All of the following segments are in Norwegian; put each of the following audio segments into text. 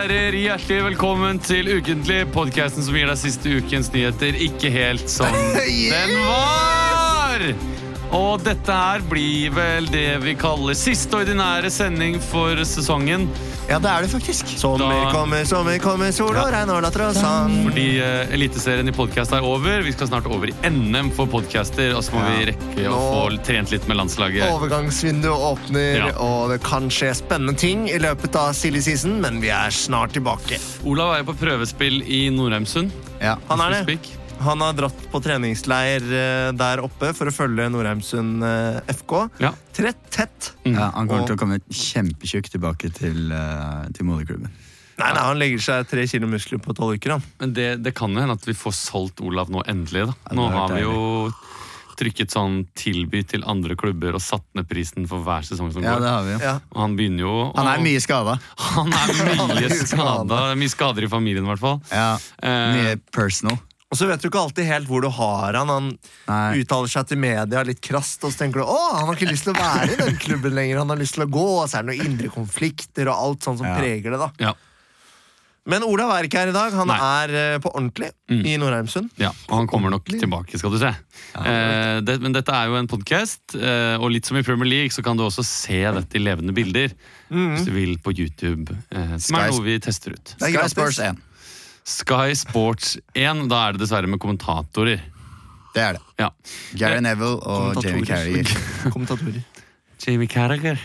hjertelig velkommen til Ukentlig, podkasten som gir deg siste ukens nyheter ikke helt som den var! Og dette her blir vel det vi kaller siste ordinære sending for sesongen. Ja, det er det faktisk. Sommer Da- kommer, sommer kommer, sol og Ja. regn og latter og sang. Fordi eh, Eliteserien i podkast er over. Vi skal snart over i NM for podcaster, og så må Ja. vi rekke å få Nå- trent litt med landslaget. Overgangsvinduet åpner, Ja. og det kan skje spennende ting i løpet av silly season, men vi er snart tilbake. Olav er jo på prøvespill i Norheimsund. Han er det. Speak. Han har dratt på treningsleir eh, der oppe for å følge Norheimsund eh, FK. Ja. Mm. Trett tett. Ja, han kommer Og- til å komme kjempetjukk tilbake til, eh, til moderklubben. Nei, nei, han legger seg tre kilo muskler på tolv uker. Han. Men det, det kan jo hende at vi får solgt Olav nå endelig. da. det Nå hadde har vært vi jo trykket sånn tilby til andre klubber og satt ned prisen for hver sesong som Ja, det går. har vi jo. Ja. Og han begynner jo å- Han er mye skada. Han er Han er mye mye skadet. skada. Mye skader i familien, i hvert fall. Ja, Eh, mye personal. Og så vet du ikke alltid helt hvor du har han. Han Nei. uttaler seg til media litt krast, og så tenker du å, han har ikke lyst til å være i den klubben lenger. Han har lyst til å gå, og så er det noen indre konflikter og alt sånt som Ja. preger det. da. ja, Men Olav er ikke her i dag. Han Nei. er eh, på ordentlig Mm. i Norheimsund. ja, og han kommer nok tilbake, skal du se. Eh, det, men dette er jo en podkast, eh, og litt som i Premier League så kan du også se dette i levende bilder hvis du vil på YouTube, eh, som er Sky- noe vi tester ut. Det er Sky gratis. Sports 1. Sky Sports 1, da er det dessverre med kommentatorer. Det er det. Ja. Gary Neville og Jamie Carrey. Kommentatorer. Jamie Carragher.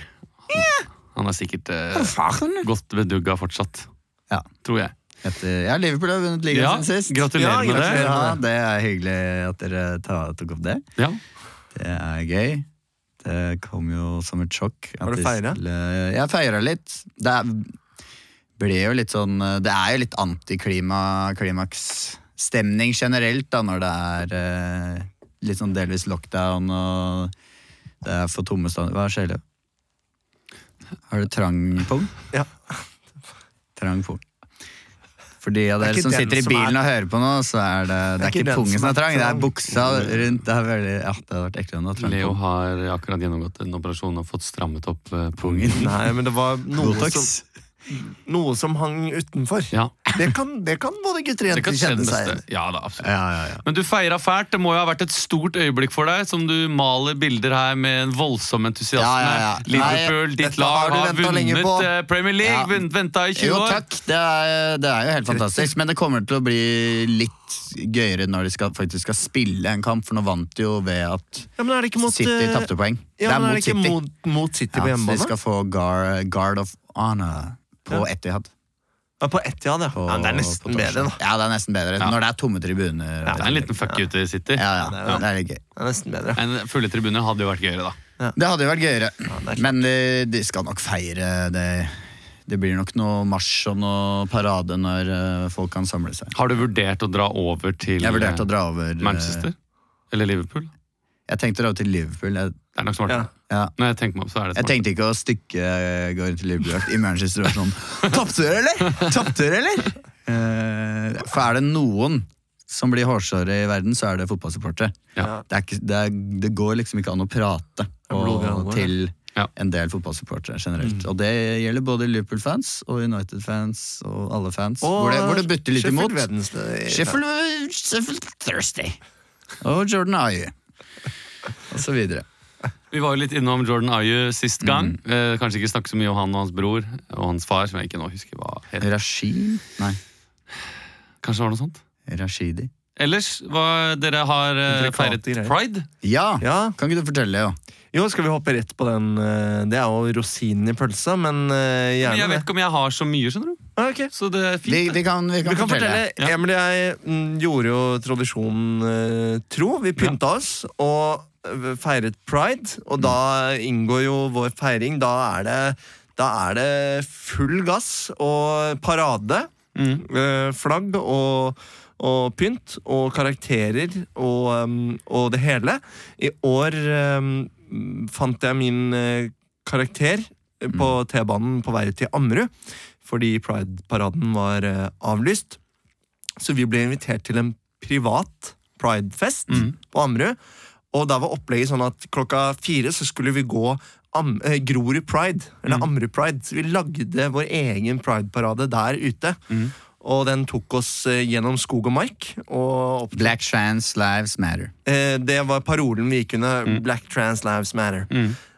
Han er sikkert eh, godt bedugga fortsatt. Ja. Tror jeg. Etter, ja, Liverpool har vunnet ligaen Ja, siden sist. gratulerer Ja, med det. gratulerer. Ja, det er hyggelig at dere ta, tok opp det. Ja. Det er gøy. Det kom jo som et sjokk. at Har du de feiret? skulle- Jeg feira litt. Det er, ble jo litt sånn eh, Det er jo litt antiklimaksstemning generelt da, når det er eh, litt sånn delvis lockdown og det er for tomme stand... Hva skjer det? Har du trang pung? Ja. Trang pung. For de av Det er dere ikke som den sitter i som er- bilen og hører på nå, så er det, det er ikke den pungen som som er er trang, det trang. er buksa rundt. Det, er veldig, ja, det hadde vært eklere enn å ha trang Leo pung. har akkurat gjennomgått en operasjon og fått strammet opp eh, pungen. pungen. Nei, men det var noe, Botox. som, noe som hang utenfor. Ja, Det, kan, det kan både gutter og det kan skje jenter kjenne den seg beste. igjen i. Ja, da, absolutt. Ja, ja, ja. Men du feira fælt. Det må jo ha vært et stort øyeblikk for deg, som du maler bilder her med en voldsom entusiasme. Ja, ja, ja. Liverpool, Nei, ditt dette lag, har du har ventet lenge vunnet på. eh, Premier League. Ja. Vun- Venta i 20 Jo, år. takk. Det er, det er jo helt fantastisk. Men det kommer til å bli litt gøyere når de skal, faktisk skal spille en kamp, for nå vant de jo ved at Ja, men er det ikke mot City eh, tapte poeng. Ja, men er det det ikke er mot mot, City. mot City på Ja, så de hjemmebane? skal få guard, guard of honor på Etihad. Ja, på Etiad, ja. På, ja. men Det er på nesten torsdag. bedre, da. Ja, det er nesten bedre. Når det er tomme tribuner. Det er en liten fuck you til City. Ja, ja. Det er litt gøy. Det er nesten bedre. En fulle tribuner hadde jo vært gøyere, da. Det hadde jo vært gøyere. det er klart. Men de, de skal nok feire det. Det blir nok noe marsj og noe parade når eh, folk kan samle seg. Har du vurdert å dra over til Jeg vurderte å eh, dra over eh, Manchester? Eller Liverpool? Jeg tenkte å dra over til Liverpool. Jeg, Det er nok smart. Ja. ja. Når jeg tenker meg opp, så er det jeg smart. tenkte ikke å stykke eh, gå rundt til Liverpool i Manchester og være sånn Tapte dere, eller? Tapte dere, eller? Eh, for er det noen som blir hårsåre i verden, så er det fotballsupportere. Ja. Det, er ikke, det, er, det går liksom ikke an å prate er blodig og, alvor, ja. til Ja. Mm. en del fotballsupportere generelt. Og det gjelder både Liverpool-fans og United-fans og alle fans. Og hvor, det, hvor det butter litt Sheffield imot. Wednesday. Sheffield, eh, Sheffield Thursday. Og Jordan Ayew. Og så videre. Vi var jo litt innom Jordan Ayew sist gang. Mm. Eh, kanskje ikke snakke så mye om han og hans bror og hans far, som jeg ikke nå husker hva het. Rashid Nei, Kanskje det var noe sånt? Rashidi. Ellers, hva, dere har eh, Intrikate feiret greier. pride? Ja! Ja, Kan ikke du fortelle, jo? Jo, skal vi hoppe rett på den? eh, Det er jo rosinen i pølsa, men eh, Men gjerne jeg vet ikke om jeg har så mye, skjønner du. Ah, ok. Så det er Vi, fint. vi, kan, vi, kan Vi kan fortelle. fortelle. Ja. Emil og jeg mm, gjorde jo tradisjonen eh, tro. Vi pynta oss og eh, feiret pride, og da inngår jo vår feiring. Da er det, da er det full gass og parade, eh, flagg og og pynt og karakterer og, um, og det hele. I år um, fant jeg min eh, karakter eh, på T-banen på vei til Ammerud, fordi Pride-paraden var eh, avlyst. Så vi ble invitert til en privat Pride-fest på Ammerud. Og der var opplegget sånn at klokka fire så skulle vi gå Am eh, Grorud Pride, eller Ammerud Pride. Så vi lagde vår egen Pride-parade der ute. Og den tok oss eh, gjennom skog og mark. Og opp, Black trans lives matter. eh, det var parolen vi gikk under. Mm. Black trans lives matter.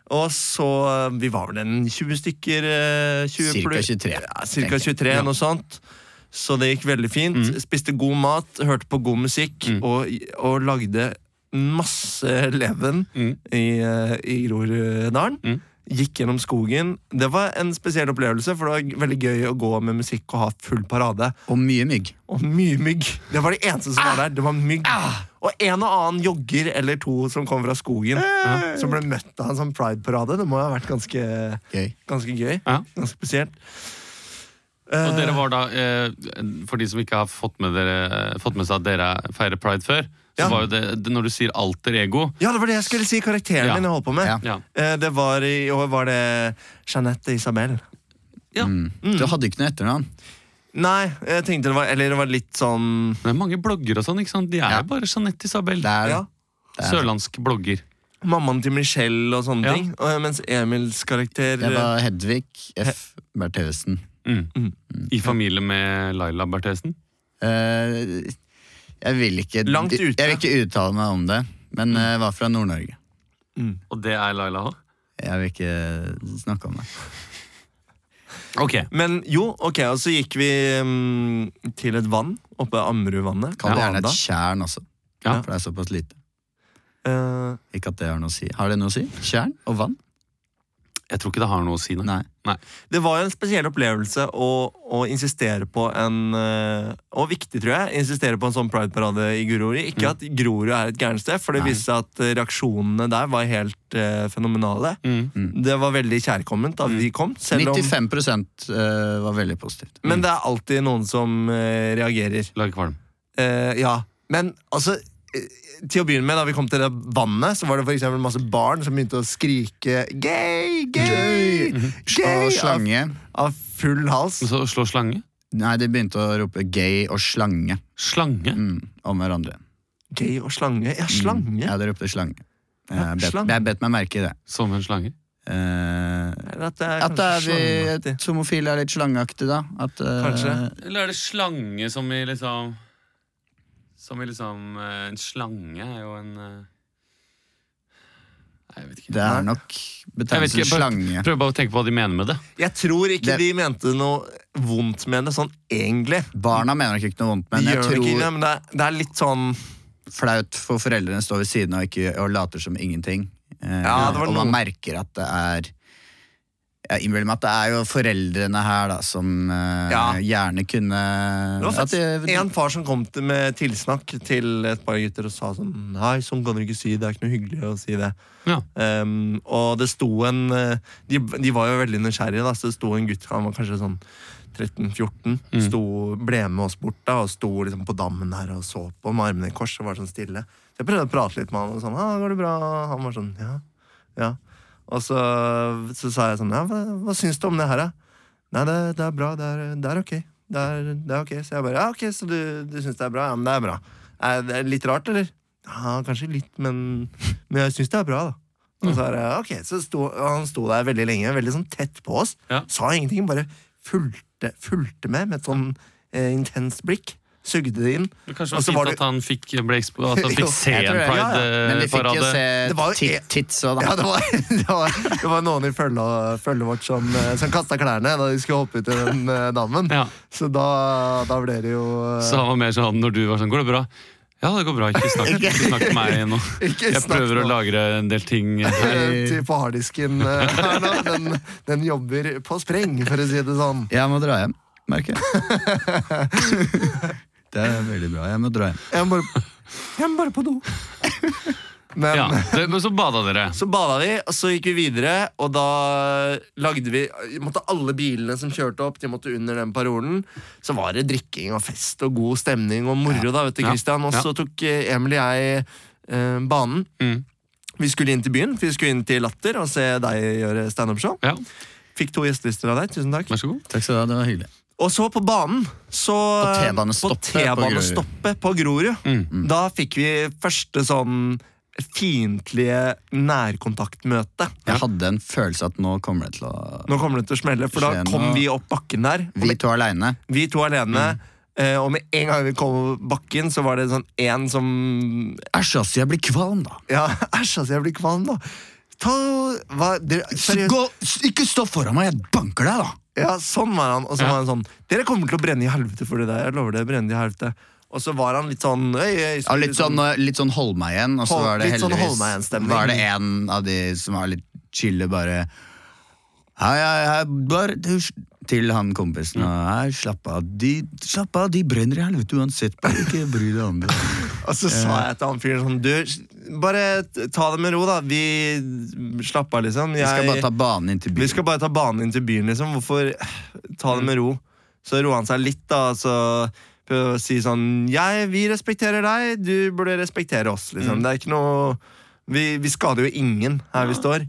Og så eh, Vi var vel en 20 stykker. eh, 20 Cirka pluss- 23, Ja, tenker cirka jeg. Mm. 23 noe sånt. Så det gikk veldig fint. Spiste god mat, hørte på god musikk og, og lagde masse leven Mm. i, eh, i Groruddalen. Gikk gjennom skogen. Det var en spesiell opplevelse, for det var veldig gøy å gå med musikk og ha full parade. Og mye mygg. Og mye mygg. Det var det eneste som var der. Det var mygg. Og en og annen jogger eller to som kom fra skogen, som ble møtt av en sånn pride-parade. Det må ha vært ganske, Gøy. ganske gøy. Ja. Ganske spesielt. Og dere var da, eh, for de som ikke har fått med, dere, eh, fått med seg at dere feirer pride før, så Ja. var jo det, det- når du sier alter ego Ja, det var det jeg skulle si. Karakteren Ja. min jeg holdt på med. Ja. Ja. Eh, Det var i år var det Jeanette Isabel. ja. Men Mm. Du hadde ikke noe etternavn. Nei, jeg tenkte det var Eller det var litt sånn det er mange blogger og sånn, ikke sant? De er Ja. jo bare Jeanette Isabel. Det er Ja. Sørlandsk blogger. Mammaen til Michelle og sånne Ja. ting. Og, mens Emils karakter Jeg var Hedvig F. Bertheussen. Mm. I familie med Laila Berthesen. Eh, jeg vil ikke Langt ute. Jeg vil ikke uttale meg om det, men eh, jeg var fra Nord-Norge. Og det er Laila òg? Jeg vil ikke snakke om det. Ok. Men jo, ok, og så gikk vi mm, til et vann oppe Ammerudvannet. Kall det Bada. gjerne et tjern også, Ja. for det er såpass lite. Eh, Ikke at det har noe å si. Har det noe å si? Tjern og vann? Jeg tror ikke det har noe å si. Nei. Nei. det var jo en spesiell opplevelse å, å insistere på en eh, Og viktig, tror jeg, insistere på en sånn prideparade i Grorud. Ikke at Grorud er et gærent sted, for det Nei. viste seg at eh, reaksjonene der var helt eh, fenomenale. Mm. Det var veldig kjærkomment da vi kom. Selv om, 95 eh, var veldig positivt. men det er alltid noen som eh, reagerer. Lager kvalm. Eh, ja, men altså eh, til å begynne med, da vi kom til det vannet, så var det for eksempel masse barn som begynte å skrike 'gay, gay, mhm. Og gay' av, slange av full hals. Og så slå slange. Nei, de begynte å rope gay og slange Slange? mm, om hverandre. Gay og slange. Ja, slange. Mm, Ja, de ropte slange. Ja, Jeg bet, slange. jeg bet meg merke i det. Som en slange? Eh, Eller At det er at kanskje vi slangeaktig. at homofile er litt slangeaktige, da. At, eh, Kanskje. Eller er det slange som i liksom Som i liksom eh, En slange er jo en eh, Nei, jeg vet ikke. Det er nok Jeg vet betegnelsen ikke, bare- slange. Prøv bare å tenke på hva de mener med det. Jeg tror ikke Det- de mente noe vondt med det, sånn egentlig. Barna mener nok ikke noe vondt, men de jeg gjør det tror ikke, ja, men det er, det er litt sånn flaut for foreldrene står ved siden av og, ikke, og later som ingenting. Eh, Ja, det var og man noe- merker at det er Jeg innbiller meg at det er jo foreldrene her da som eh, Ja. gjerne kunne Det var at faktisk de- en far som kom til med tilsnakk til et par gutter og sa sånn Nei, sånn kan du ikke si. Det er ikke noe hyggelig å si det. Ja. Ehm, og det sto en eh, de, de var jo veldig nysgjerrige, da, så det sto en gutt Han var kanskje sånn 13-14. Sto, ble med oss bort da og sto liksom på dammen her og så på med armene i kors og var sånn stille. Så jeg prøvde å prate litt med han og sånn ah, 'Går det bra?' Han var sånn 'Ja'. ja. Og så, så sa jeg sånn ja, hva, 'Hva syns du om det her, da?' Nei, det, det er bra. Det er, det er ok. Det er, det er ok. Så jeg bare Ja, ok, så du, du syns det er bra? Ja, men det er bra. Er det litt rart, eller? Ja, kanskje litt, men, men jeg syns det er bra, da. Og så er det, ok, så sto, og han sto der veldig lenge, veldig sånn tett på oss. Ja. Sa ingenting, bare fulgte, fulgte med med et sånn eh, intenst blikk. Sugde det inn. Kanskje det Og var så fint var det- at han fikk, ble ekspo at han Jo, fikk se jeg en tror det. Ja, ja. eh, Men de fikk jo Pride-parade. Det var jo se e- tit, tits og da. Ja, det var, det var, det var noen i følget, følget vårt som, eh, som kasta klærne da de skulle hoppe ut i den eh, dammen. Ja. Så da, da ble det jo eh, Så han var mer sånn når du var sånn Går det bra? Ja, det går bra. Ikke snakk, ikke snakk til meg nå. Ikke Jeg snakk prøver å nå. lagre en del ting. eh, til på harddisken eh, her nå. Den, den jobber på spreng, for å si det sånn. Jeg må dra hjem, merker jeg. det er veldig bra. Jeg må dra hjem. Jeg må bare, jeg må bare på do. Men Ja, det, men så bada dere. Så bada vi, og så gikk vi videre, og da lagde vi måtte Alle bilene som kjørte opp, de måtte under den parolen. Så var det drikking og fest og god stemning og moro, da, vet du, Ja. Christian. Og Ja. så tok eh, Emil og jeg eh, banen. Mm. Vi skulle inn til byen, for vi skulle inn til Latter og se deg gjøre standup-show. Ja, Fikk to gjestelister av deg, tusen takk. vær så god. Takk skal du ha, det var hyggelig. Og så på banen så, På Mm. T-banestoppet på T-banestoppet på Grorud. Da fikk vi første sånn fiendtlige nærkontaktmøte. Jeg hadde en følelse at nå kommer det til å Nå kommer det til å smelle, for da Skjer kom noe. vi opp bakken der. og Vi to aleine. Vi to Mm. alene. eh, Og med en gang vi kom over bakken, så var det sånn én som Æsj, ass, jeg blir kvalm, da. Ja, æsj, altså, jeg blir kvalm, da. Ta hva, dere, S- Seriøst. Gå, s- ikke stå foran meg, jeg banker deg, da! Ja, sånn var han. Og så Ja. var han sånn Dere kommer til å brenne i helvete for det der. Jeg lover det, brenne i helvete. Og så var han litt sånn øy, øy, Ja, litt sånn, eh, litt sånn hold meg igjen, og så Hold- var det litt sånn hold meg heldigvis igjen-stemning. Var det en av de som var litt chille, bare Hei, hei, hei, bare du, sj- Til han kompisen og Hei, slapp av. De, slapp av, de brenner i helvete uansett. Bare ikke bry deg om det. Og så sa jeg til han fyren sånn Du, bare t- ta det med ro, da. Vi slapp av, liksom. Vi skal Jeg- bare ta banen inn til Vi byen. skal bare ta banen inn til byen, liksom. Hvorfor ta det med ro? Så roa han seg litt, da. Så prøvde å si sånn Jeg, vi respekterer deg, du burde respektere oss, liksom. Det er ikke noe vi, vi skader jo ingen her vi står.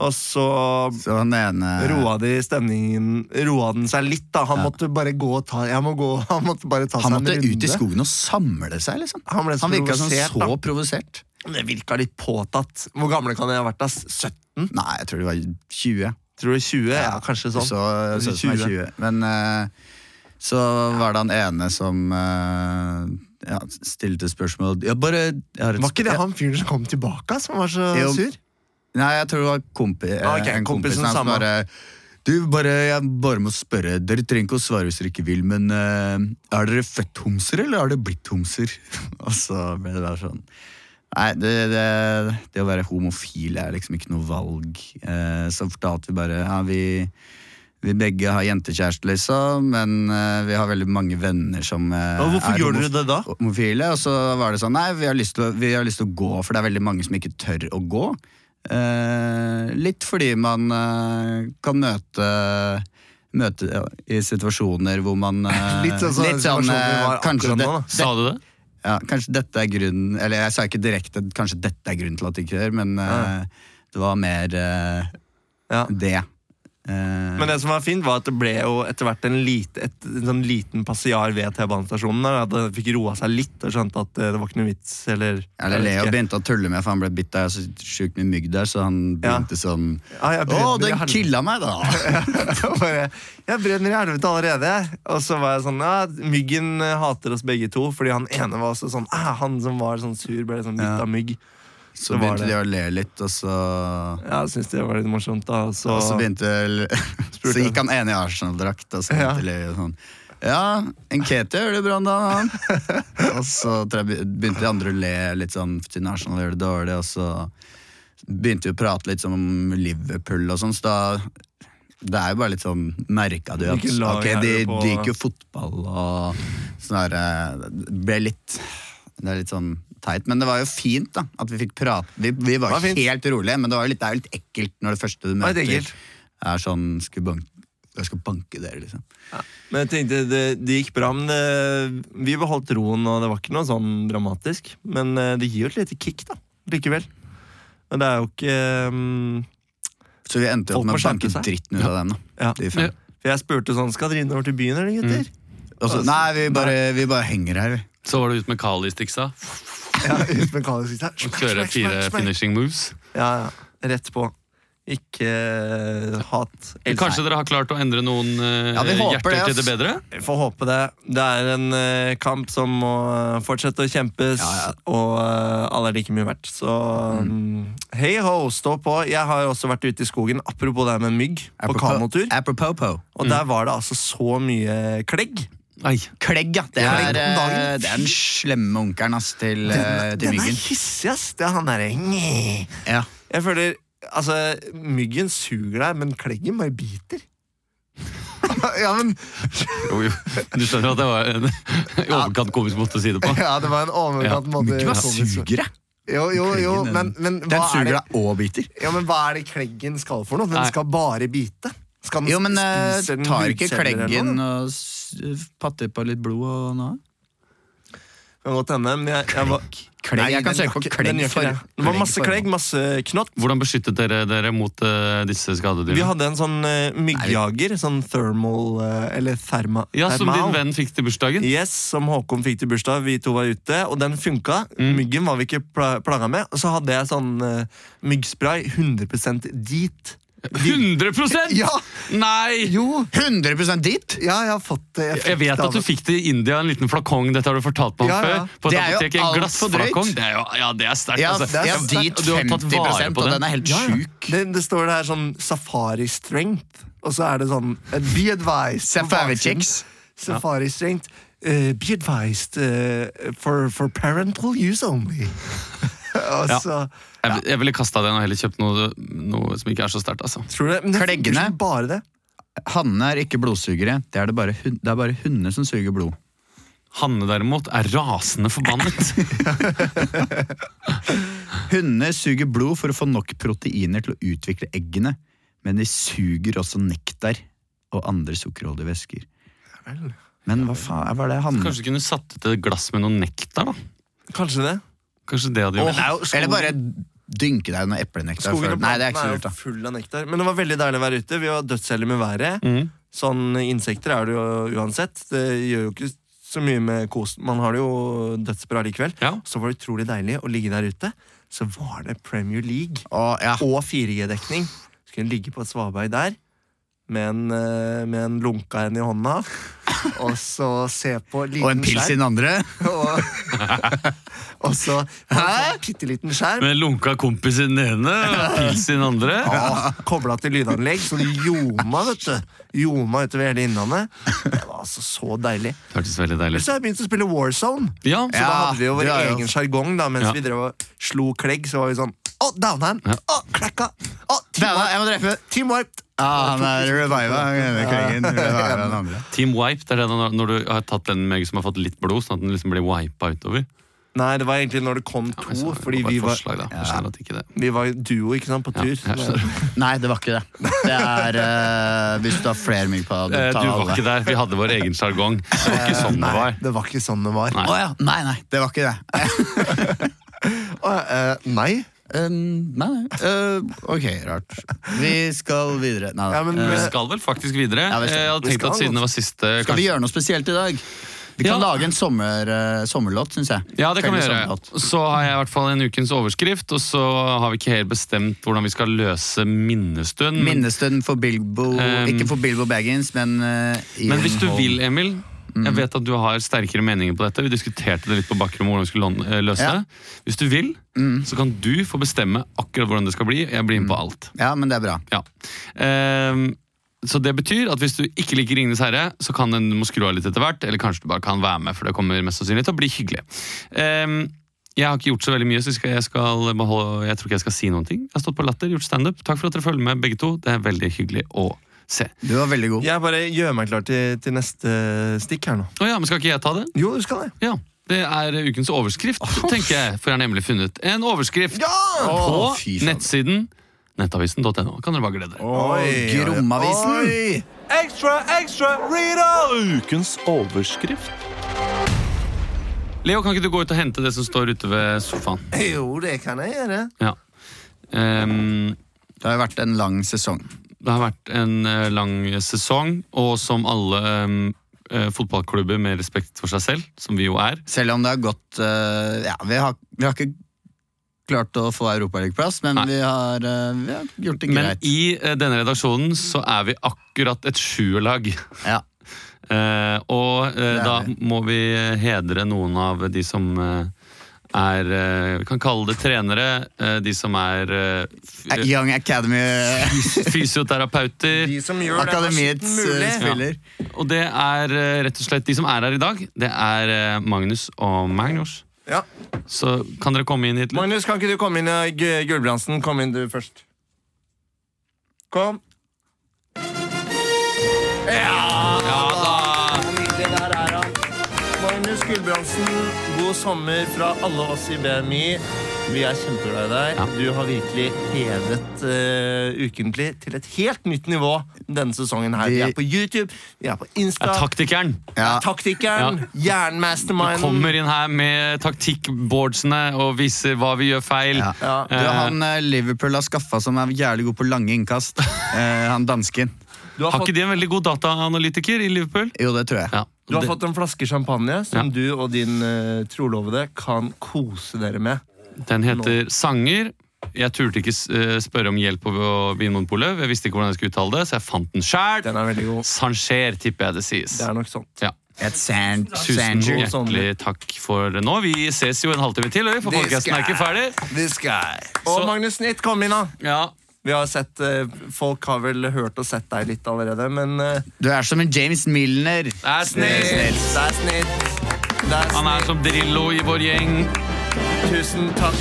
Og så Så han ene roa de stemningen Roa den seg litt, da. Han måtte bare gå og ta Jeg må gå Han måtte bare ta seg Han en måtte runde. ut i skogen og samle seg, liksom. Han ble så Han virka sånn provosert, så provosert. Det virka litt påtatt. Hvor gamle kan jeg ha vært? ass? 17? Nei, jeg tror det var 20. Tror du 20? Ja, kanskje sånn. Så, så, som er 20. Men eh, så var det han ene som eh, ja, stilte spørsmål jeg bare, jeg har et Var ikke det sp- han fyren som kom tilbake, ass, som var så Jo. sur? Nei, jeg tror det var kompi, eh, Ah, ok, en kompis kompisen som samme. bare Du, bare, jeg bare må spørre. Dere trenger ikke å svare hvis dere ikke vil, men eh, er dere født homser, eller har dere blitt homser? Og så ble det bare sånn Nei, det, det, det å være homofil er liksom ikke noe valg. Eh, så fortalte vi bare ja, vi, vi begge har jentekjæreste, liksom, men eh, vi har veldig mange venner som eh, Og hvorfor er gjorde homof- dere det da? homofile, og så var det sånn Nei, vi har lyst til å, vi har lyst til å gå, for det er veldig mange som ikke tør å gå. Eh, litt fordi man eh, kan møte Møte ja, i situasjoner hvor man eh, Litt sånn som den situasjonen vi eh, var kanskje, akkurat det, nå, da. Sa du det? ja, kanskje dette er grunnen Eller jeg sa ikke direkte Kanskje dette er grunnen til at de ikke tør, men eh, det var mer eh, Ja. det. Eh, Men det som var fint, var at det ble jo etter hvert en, lite, et, en sånn liten passiar ved T-banestasjonen. der, At det fikk roa seg litt og skjønte at eh, det var ikke noe vits. Eller, jeg eller vet Leo ikke. begynte å tulle med, for han ble bitt av så sjukt mye mygg der, så han Ja. begynte sånn Ja, jeg Å, brenner i den helvete. killa meg, da! Og bare, jeg brenner i helvete allerede. Og så var jeg sånn ja, Myggen eh, hater oss begge to, fordi han ene var også sånn «Ah, Han som var sånn sur, ble sånn bitt Ja. av mygg. Så Det var begynte det. de å le litt, og så, Ja, jeg synes det var litt morsomt, da. og Så, og så begynte Så jeg. gikk han ene i Arsenal-drakt, og så Ja. begynte Leo sånn Ja, Nketia gjør det bra om dagen, han. og så tror jeg be- begynte de andre å le litt sånn siden Arsenal gjør det dårlig, og så begynte vi å prate litt sånn om Liverpool og sånn, så da det er jo bare litt sånn Merka du at Hvilket lag ok, er de, det på? de gikk jo fotball og sånn der eh, Det ble litt Det er litt sånn teit. Men det var jo fint da at vi fikk prate. Vi, vi var, Det var fint. helt rolige, men det, var jo litt, det er jo litt ekkelt når det første var du litt møter, ekkelt. er sånn skal banke, Jeg skal banke dere, liksom. Men jeg tenkte, det, det gikk bra, men det, vi beholdt roen, og det var ikke noe sånn dramatisk. Men eh, det gir jo et lite kick, da, likevel. Men det er jo ikke mm, Så vi endte Folk jo opp med må å skjerpe banke seg. dritten ut av dem. da ja. de fem. For jeg spurte sånn, skal dere innover til byen, eller gutter? Og så, nei, vi bare, vi bare henger her, vi. Så var det ut med Kali-stiksa. Ja, ut med kallet sitt. Kjøre fire finishing moves. Ja, ja. Rett på. Ikke eh, hat. Men Elsk. Kanskje dere har klart å endre noen eh, Ja, vi hjerter håper det, til det ass. bedre? Vi får håpe det. Det er en eh, kamp som må eh, fortsette å kjempes, Ja, ja. og eh, alle er like mye verdt. Så mm, hei ho, stå på. Jeg har også vært ute i skogen, apropos det her med mygg, på kanotur. Apropopo. Og der var det altså så mye klegg. Klegg, ja. Klegg om Det er, eh, dagen. det er den slemme onkelen ass, til, eh, til Den er myggen. hissig, ass. Det er han derre Jeg Ja. føler Altså, myggen suger deg, men kleggen bare biter. ja, men Jo, jo. Du skjønner at det var en i overkant komisk måte å si det på. Ja, det var en Ja, overkant måte. Myggen bare Thomas. suger, jeg. Jo, jo, jo, Kleggen, men, men hva er Den det suger deg og biter. Ja, men Hva er det kleggen skal for noe? Den Nei. skal bare bite. Skal den Jo, men eh, spise den tar ikke hudceller eller kleggen noe? og s- patter på litt blod og noe? Kan godt hende, men jeg, jeg var Klegg, Nei, jeg den kan søke gjør på ikke- klegg den gjør ikke for- det. Det var klegg masse for- klegg, masse knott. Hvordan beskyttet dere dere mot eh, disse Vi skadedyrene? hadde en sånn eh, myggjager, sånn thermal eh, Eller therma, Ja, Som din thermal. venn fikk til bursdagen? Yes, som Håkon fikk til bursdag. Vi to var ute, og den funka. Mm. Myggen var vi ikke pla- plaga med. Og så hadde jeg sånn eh, myggspray 100 dit. 100 Ja! Nei! Jo! 100 dit! Ja, jeg har fått det. fikk Jeg vet det at du av- fikk det i India, en liten flakong. Dette har du fortalt meg om Ja, ja. før. På et Det er jo apotek, en alt for drøyt. glassflakong. Det er jo, ja, det er sterkt. Ja, altså. er ja, sterkt. dit Og du har tatt 50 vare på og den. den er helt Ja, ja. sjuk. Det, det står det her sånn safari strength, og så er det sånn eh, Be advised. på Safari baksiden. chicks. Safari strength. eh, be advised eh, for, for parental use only. og Ja. så Jeg, jeg ville kasta den og heller kjøpt noe, noe som ikke er så sterkt. Altså. tror du det, men det funker Kleggene. som Bare det. Hannene er ikke blodsugere. Det er det bare, hun- det er bare hundene som suger blod. Hanne derimot er rasende forbannet. Hundene suger blod for å få nok proteiner til å utvikle eggene, men de suger også nektar og andre sukkerholdige væsker. Men hva faen var det han Kanskje du kunne satt ut et glass med noe nektar? da Kanskje det. Kanskje det hadde Åh, gjort Eller bare dynke deg med eplenektar. Skogen før- og Nei, det er ikke planten så er lurt, da. jo full av nektar. Men det var veldig deilig å være ute. Vi var dødsheldige med været. Mm. Mhm. Sånn Insekter er det jo uansett. Det gjør jo ikke så mye med kosen. Man har det jo dødsbra likevel. Ja. Så var det utrolig deilig å ligge der ute. Så var det Premier League Å, ja. og 4G-dekning. Så kunne jeg ligge på et svaberg der med en, eh, med en lunka en i hånda. Og så se på liten Og en pils i den andre. Og, og så en sånn bitte liten skjerm. Med lunka kompis i den ene og pils i den andre. Ja, Kobla til lydanlegg, så det ljoma vet du. Ljoma utover hele Innlandet. Det var altså så deilig. Hørtes veldig deilig ut. Så har jeg begynt å spille Warzone. Ja, Så da Ja, hadde vi jo vår det er jo- egen sjargong da, mens Ja. vi drev og slo klegg. Så var vi sånn Å, downhand! Å, klekka! Å, team Dæven, wiped! jeg må drepe Team wiped! Ja, han er reviva. Klengen reviva den andre. Team wipe, det er det når- når du har tatt den meg som har fått litt blod, sånn at den liksom blir wipa utover. Nei, det var egentlig når det kom Men så to, er det fordi bare vi et var, forslag, da. Jeg skjønner at ikke det. vi var duo ikke sant, på Ja, tur. jeg skjønner. Nei, det var ikke det. Det er eh, Hvis du har flere mygg på Eh, deg, Du du tar var ikke alle. der, vi hadde vår egen sjargong. Det var ikke sånn det Nei, var. Eh, det var ikke sånn det var. Nei. Å ja. Nei, nei, det var ikke det. Å, eh, nei. Um, nei, nei. Eh, ok, rart. Vi skal videre. Nei, Ja, men, eh, Vi skal vel faktisk videre. Eh, Ja, vi skal. Jeg hadde Vi tenkt skal, at siden det var siste skal vi kanskje- gjøre noe spesielt i dag? Vi kan Ja. lage en sommer, eh, sommerlåt, syns jeg. Ja, det kan vi Felles gjøre. sommerlåt. Så har jeg i hvert fall en ukens overskrift, og så har vi ikke helt bestemt hvordan vi skal løse minnestund. men- Minnestund for Bilbo Um, Ikke for Bilbo Baggins, men eh, Ian Men hvis du Holm. vil, Emil Jeg vet at du har sterkere meninger på dette. Vi diskuterte det litt på Bakrom hvordan vi skulle lån- eh, løse Ja. det. Hvis du vil, så kan du få bestemme akkurat hvordan det skal bli. Jeg blir med på alt. Ja, men det er bra. Ja. Ehm, så det betyr at hvis du ikke liker Ringenes herre, så kan den- du må skru av litt etter hvert. Eller kanskje du bare kan være med, for det kommer mest sannsynlig til å bli hyggelig. Ehm, jeg har ikke gjort så veldig mye, så skal, jeg, skal beholde, jeg tror ikke jeg skal si noen ting. Jeg har stått på latter, gjort standup. Takk for at dere følger med, begge to. Det er veldig hyggelig å se. Du var veldig god. Jeg bare gjør meg klar til, til neste stikk her nå. Å ja, men skal ikke jeg ta det? Jo, du skal det. Ja, det er eh, ukens overskrift, tenker jeg. For jeg har nemlig funnet en overskrift Ja! på Å, fy faen. nettsiden nettavisen.no. Kan dere bare glede dere. Oi, Gromavisen. Oi. Ekstra, ekstra, read Ukens overskrift. Leo, kan ikke du gå ut og hente det som står ute ved sofaen? Jo, det kan jeg gjøre. Ja. Ehm, Det har jo vært en lang sesong. det har vært en eh, lang sesong, og som alle ehm, eh, fotballklubber med respekt for seg selv, som vi jo er Selv om det har gått eh, Ja, vi har, vi har ikke klart å få europaligaplass, men Nei. vi har, eh, vi har gjort det Men greit. i eh, denne redaksjonen så er vi akkurat et sjuerlag. Ja. Eh, og eh, er da vi. må vi hedre noen av de som eh, er eh, Vi kan kalle det trenere. eh, de som er eh, f- Eh, Young Academy fysioterapeuter. De som gjør det her Akademiets skitten eh, mulig. spiller. Og det er eh, rett og slett de som er her i dag. Det er eh, Magnus og Magnus. Ja. Så kan dere komme inn hit litt? Magnus, kan ikke du komme inn? eh, Gu- Gulbrandsen, kom inn du først. Kom. Ja da! Nydelig, der er han. Magnus Gulbrandsen, god sommer fra alle oss i BMI. Vi er kjempeglad i deg. Ja. Du har virkelig hevet eh, ukentlig til et helt nytt nivå denne sesongen her. Vi Vi- er på YouTube, vi er på Ja, Insta. taktikeren. Ja. Taktikeren, jernmasterminden. Kommer inn her med taktikkboardsene og viser hva vi gjør feil. Ja. Ja. Du, han eh, Liverpool har skaffa som er jævlig god på lange innkast. Eh, han dansken. Du har, Har fått, ikke de en veldig god dataanalytiker i Liverpool? Jo, det tror jeg. Ja. du har fått en flaske champagne som Ja. du og din eh, trolovede kan kose dere med. Den heter Sanger. Jeg turte ikke eh, spørre om hjelp på Vinmonopolet. Jeg visste ikke hvordan jeg skulle uttale det, så jeg fant den sjæl. Den er veldig god. Sanger, tipper jeg det sies. Det er nok sånn. sånt. Ja. Et sand, Tusen sanger. God sommer. hjertelig takk for nå. Vi ses jo en halvtime til, eller? for Det podcasten er skal ikke ferdig. This guy. Og Så- Magnus Nytt, kom inn, da. Ja. Vi har sett, eh, Folk har vel hørt og sett deg litt allerede, men eh, Du er som en James Milner. Det er snill. snilt. Det er snilt. Det er Han er snilt. som Drillo i vår gjeng. Tusen takk.